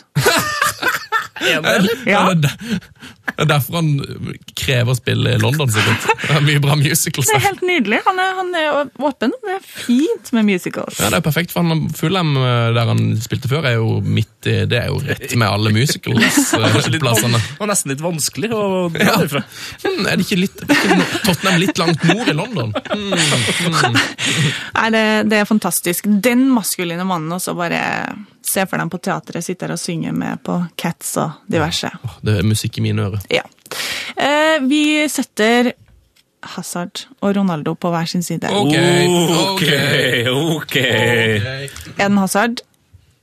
Ja. Det er der- det er derfor han krever å spille i London, sikkert. Det er mye bra musicals Det er der. helt nydelig. Han er, han er åpen. Det er fint med musicals. Ja, det er perfekt, for han Fulham, eh, der han spilte før, er jo midt i Det er jo rett med alle eh, Kanskje litt van- musicals-plassene. Det var nesten litt vanskelig å dra Ja. derfra. Men er det ikke litt er ikke no- Tottenham litt langt nord i London? Nei, det, det er fantastisk. Den maskuline mannen også bare Se for dem på teatret, sitter og synger med på Cats og diverse. Åh, Det er musikk i mine ører. Ja. Eh, vi setter Hazard og Ronaldo på hver sin side. Ok, ok, Ok, ok. Eden Hazard,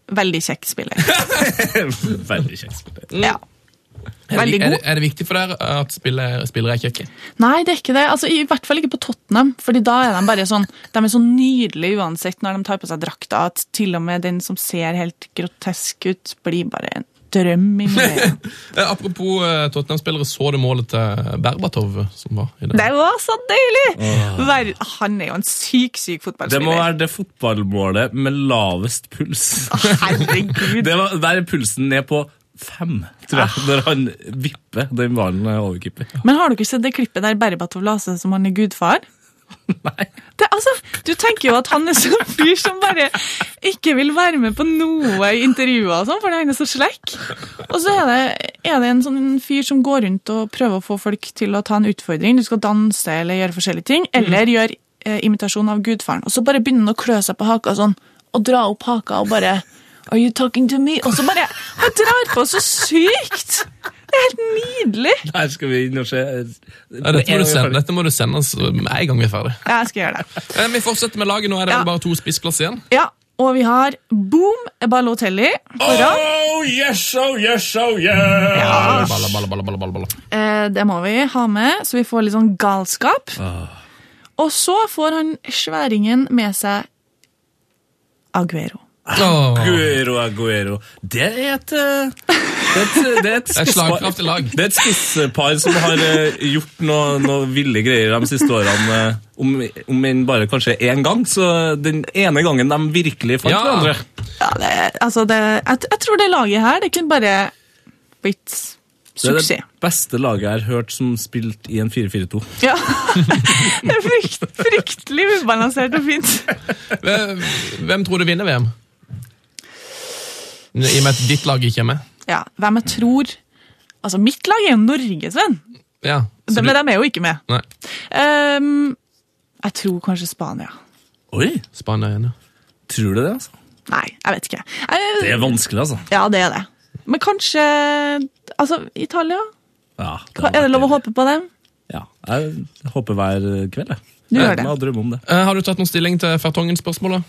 veldig kjekk spiller. Veldig kjekt spill. Ja. Mm. Er, det, Veldig er, god. det, er det viktig for deg at spillere, spillere er kjekke? Nei, det er ikke det. Altså, I hvert fall ikke på Tottenham. Fordi da er de bare sånn De er så nydelige uansett når de tar på seg drakta, at til og med den som ser helt grotesk ut, blir bare en drøm i miljøet. Eh, Apropos eh, Tottenham-spillere, så du målet til Berbatov som var i Det dag? var så deilig! Ver Han er jo en syk, Det syk må fotballspiller. være det fotballmålet med lavest puls. Herregud. Ah. Det var, der er pulsen ned på fem, tror jeg, når han vipper den ballen over keeper. Men har du ikke sett det klippet der Berbatov la seg som han er gudfar? Det, altså, du tenker jo at han er sånn fyr som bare ikke vil være med på noe i intervjuer og sånn, fordi han er så slekk. Og så er det, er det en sånn fyr som går rundt og prøver å få folk til å ta en utfordring. Du skal danse eller gjøre forskjellige ting, eller gjøre eh, imitasjon av gudfaren. Og så bare begynner han å klø seg på haka sånn, og dra opp haka og bare Are you talking to me? Og så bare Han drar på så sykt! Det er helt nydelig. Her skal vi inn og se. Ja, Eh, dette, må du sende, dette må du sende oss med en gang vi er ferdig. Ja, jeg skal gjøre det. Eh, Vi fortsetter med laget. Nå er det Ja. vel bare to spissplass igjen. Ja, og vi har Boom Balotelli foran. Oh yes, oh yes, oh yes! Ja, Balla, balla, balla, balla, balla, balla. eh, det må vi ha med, så vi får litt sånn galskap. Og så får han sværingen med seg Aguero. Åh, Aguero, Aguero. Det er et eh, Det er et, det er et, Et spisspar- slagkraftig lag. Det er et spisspar som har eh, gjort noe, noe ville greier de siste årene. eh, om, om enn bare kanskje én gang. Så den ene gangen de virkelig fant Ja. hverandre. Ja, det, altså det, jeg, jeg tror det laget her, det kunne bare blitt Det er det suksess. beste laget jeg har hørt som spilte i en 4-4-2. Ja. det er frykt, fryktelig ubalansert og fint. Hvem Eh, hvem tror du vinner VM? I og med at ditt lag ikke er med. Ja, hvem jeg tror Altså, mitt lag er jo Norge, Sven. Ja, så Men du- de er jo ikke med. Nei, Ehm, jeg tror kanskje Spania. Oi, Spania er enig. tror du det? altså? Nei, jeg vet ikke. Jeg, Det er vanskelig, altså. Ja, det er det. Men kanskje Altså, Italia? Ja, Hva, er det lov å håpe på dem? Ja, Jeg håper hver kveld, jeg. Du jeg gjør det. Jeg drømmer om det. Eh, har du tatt noen stilling til Fertongen-spørsmålet?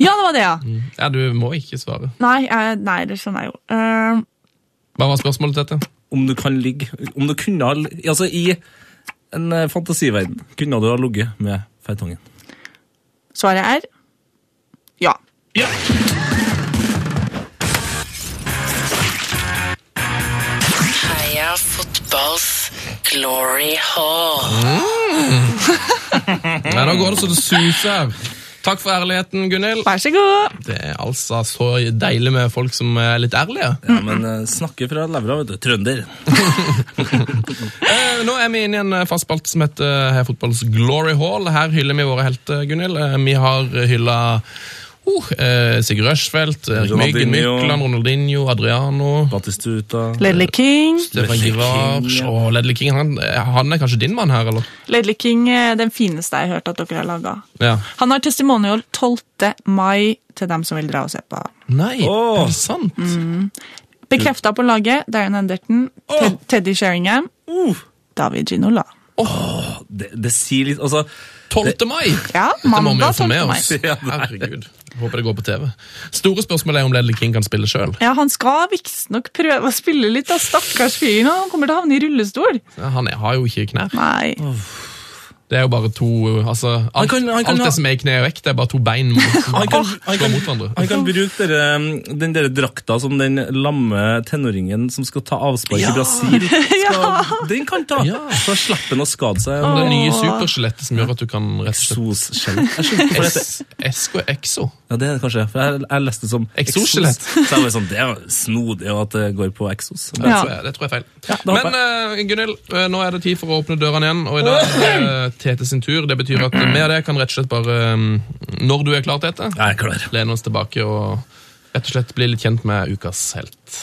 Ja, det var det, ja. Ja, du må ikke svare. Nei, jeg, nei det skjønner jeg jo. Ehm, Hva var spørsmålet til dette? om du kan ligge Om du kunne ha Altså, i en eh, fantasiverden kunne du ha ligget med Feitongen. svaret er ja. Heia fotballs glory hall. Nei, nå går det så det suser. Takk for ærligheten, Gunhild. Vær så god. Det er altså så deilig med folk som er litt ærlige. Ja, men eh, snakke fra levra, vet du. Trønder. Eh, Nå er vi inne i en eh, fast spalte som heter eh, Heia Fotballs Glory Hall. Her hyller vi våre helter, Gunhild. Eh, Vi har hylla oh, eh, Sigurd Rushfeldt, Erik Myggen, Ronaldinho. Mykland, Ronaldinho, Adriano Batistuta Ledley King. Stefan Ledley King, Givars ja. og Ledley King. Han, eh, han er kanskje din mann her, eller? Ledley King er den fineste jeg har hørt at dere har laga. Ja. Han har testimonial 12. mai til dem som vil dra og se på. Nei, Åh. Mm. er det sant? Bekrefta på laget Darren Henderton, Ted, Teddy Sheringham, Uh, David Ginola. det, det sier litt Altså, 12. mai! Ja, Dette må vi jo mandag få 12. med mai. oss. Herregud. Jeg håper det går på TV. Store spørsmål er om Ledley King kan spille sjøl. Ja, han skal visstnok prøve å spille litt av stakkars fyren, og han kommer til å havne i rullestol. Han er, har jo ikke knær. Nei. Det er jo bare to altså, Alt, kan- han kan alt ha- det som er i kne og vekk, det er bare to bein mot, han kan, han slå kan, mot hverandre. han kan bruke dere, um, den der drakta som den lamme tenåringen som skal ta avspark i Brasil skal, Den kan ta! Ja. Så slipper han å skade seg. Det med nye superskjelettet som gjør at du kan rett og slett Exos-skjelett. Jeg skjønner ikke hva det heter. S- Esko Exo. Ja, det er det kanskje. For jeg, jeg leste det som Exos-skjelett. exos. Så jeg var sånn, det er jo snodig at det går på Exos. Det, Ja. tror jeg, det tror jeg er feil. det håper Men eh, Gunhild, eh, nå er det tid for å åpne dørene igjen, og i dag er det Tete sin tur. Det betyr at vi av det kan rett og slett bare mm, Når du er klar, Tete, Jeg er klar. lene oss tilbake og rett og slett bli litt kjent med ukas helt.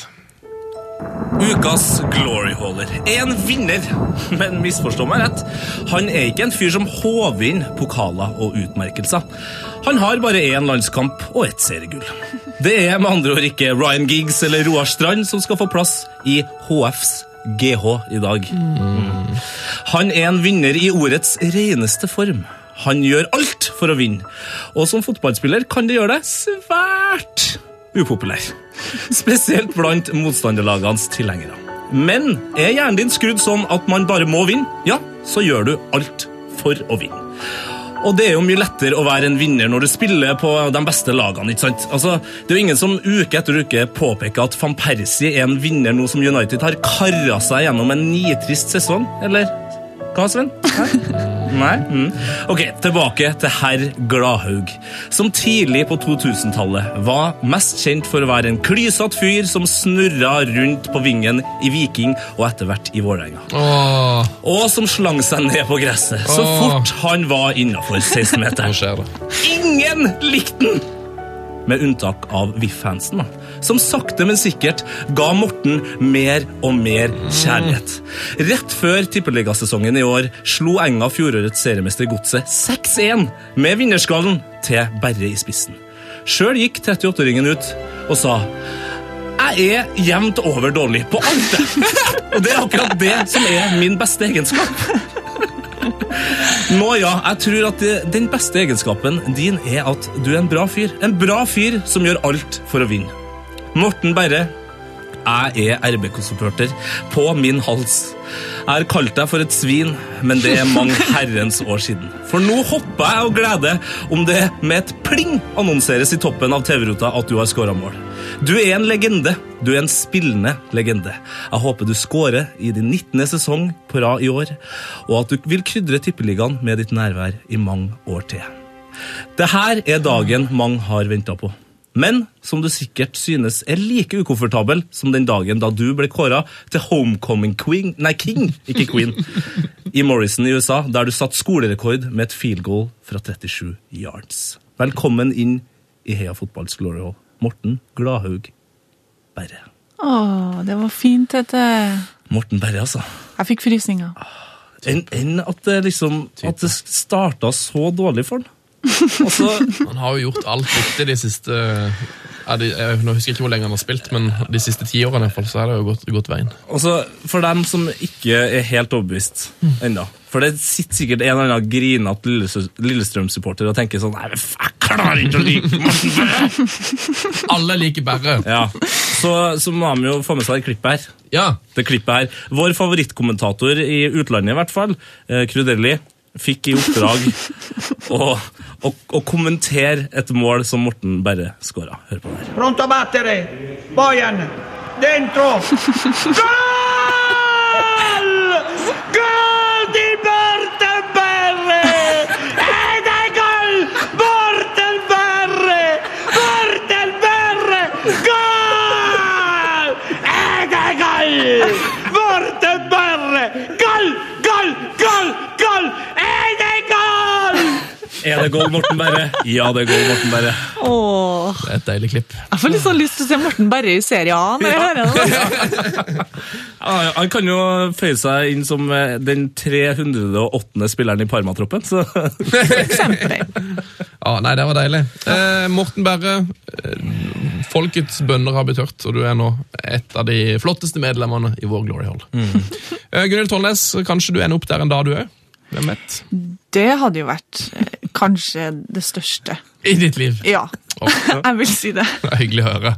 Ukas gloryholder er en vinner, men misforstå meg rett. Han er ikke en fyr som håver inn pokaler og utmerkelser. Han har bare én landskamp og ett seriegull. Det er med andre ord ikke Ryan Giggs eller Roar Strand som skal få plass i HFs GH i dag. Han er en vinner i ordets reneste form. Han gjør alt for å vinne, og som fotballspiller kan det gjøre deg svært upopulær. Spesielt blant motstanderlagenes tilhengere. Men er hjernen din skrudd sånn at man bare må vinne, ja, så gjør du alt for å vinne. Og det er jo mye lettere å være en vinner når du spiller på de beste lagene. ikke sant? Altså, Det er jo ingen som uke etter uke påpeker at van Persie er en vinner nå som United har kara seg gjennom en nitrist sesong, eller? Hva, Sven? Hæ? Nei? Mm. Ok, tilbake til herr Gladhaug, som tidlig på 2000-tallet var mest kjent for å være en klysete fyr som snurra rundt på vingen i Viking og etter hvert i Vålerenga Åh, og som slang seg ned på gresset så Åh. fort han var innafor nå 16-meteren. skjer det. Ingen likte den! Med unntak av Viff-fansen, da, som sakte, men sikkert ga Morten mer og mer kjærlighet. Rett før tippeligasesongen i år slo Enga fjorårets seriemester Godset 6-1 med vinnerskallen til Berre i spissen. Sjøl gikk 38-åringen ut og sa jeg er jevnt over dårlig på alt. jeg». Og det er akkurat det som er min beste egenskap. Nå ja, jeg tror at det, den beste egenskapen din er at du er en bra fyr. En bra fyr som gjør alt for å vinne. Morten Berre, jeg er RBK-supporter på min hals. Jeg har kalt deg for et svin, men det er mange herrens år siden. For nå hopper jeg og gleder om det med et pling annonseres i toppen av TV-ruta at du har skåra mål. Du er en legende. Du er en spillende legende. Jeg håper du skårer i din 19. sesong på rad i år, og at du vil krydre Tippeligaen med ditt nærvær i mange år til. Det her er dagen mange har venta på. Men som du sikkert synes er like ukomfortabel som den dagen da du ble kåra til homecoming queen Nei, king, ikke queen. I Morrison i USA, der du satte skolerekord med et field goal fra 37 yards. Velkommen inn i Heia fotballs glory hall. Morten Gladhaug Berre. Å, det var fint, dette. Morten Berre, altså. Jeg fikk frysninger. Enn enn at det liksom At det starta så dårlig for han. Altså, Han har jo gjort alt riktig de siste ja, de, jeg, Nå husker jeg ikke hvor lenge han har spilt, men de siste ti årene i hvert fall, så er det jo gått, gått veien. Altså, For dem som ikke er helt overbevist ennå For det sitter sikkert en eller annen grinete Lillesø- Lillestrøm-supporter og tenker sånn Nei, men f- jeg klarer ikke å like Morten Berre! Alle liker Berre. Ja, så, så må de jo få med seg det klippet her. Ja. Det klippet her. Vår favorittkommentator i utlandet, i hvert fall, eh, Crudelli, fikk i oppdrag å, å, å kommentere et mål som Morten Berre skåra. Hør på det her. Pronto a battere. Bojan. Dentro. Gol! Gol di Mortenberre! Ed è gol! Mortenberre! Mortenberre! Gol! Ed è gol! Mortenberre! Gol! Gol! Gol! Gol! Ed è gol! Er det goal, Morten Berre? Ja, det er goal, Morten Berre. Åh, Det er et deilig klipp. jeg får litt sånn lyst til å se Morten Berre i Serie A når jeg hører det. Ja, Han kan jo føye seg inn som eh, den 308. spilleren i Parma-troppen. Så Ja, nei, det var deilig. Eh, Morten Berre, eh, folkets bønner har blitt hørt, og du er nå et av de flotteste medlemmene i vår Glory Hall. Eh, Gunhild Tollnes, kanskje du ender opp der en dag du er? Hvem vet? Det hadde jo vært eh, kanskje det største. I ditt liv. Ja, Åh. jeg vil si det. Det er Hyggelig å høre.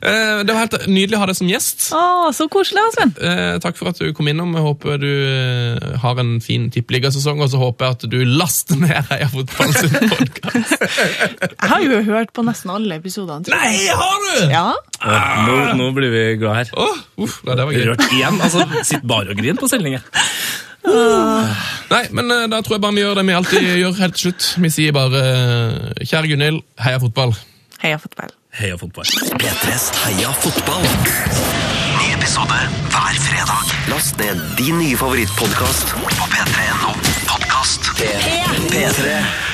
Eh, det var helt nydelig å ha deg som gjest. Å, så koselig, da, Sven. Eh, takk for at du kom innom. Jeg håper du eh, har en fin tippeligasesong, og så håper jeg at du laster ned Heia Fotball sin podkast. Jeg har jo hørt på nesten alle episodene. tror jeg. Nei, har du?! Ja, Ja, nå, nå blir vi glad her. Åh, uff, nei, det var gøy. Rørt igjen. altså Sitt bare og grin på sendinga. Nei, men eh, da tror jeg bare vi gjør det vi alltid gjør helt til slutt. Vi sier bare eh, kjære Gunhild, heia fotball. heia fotball. Heia fotball. P3s Heia fotball. Ny episode hver fredag. Last ned din nye favorittpodkast på p3.no podkast. P3.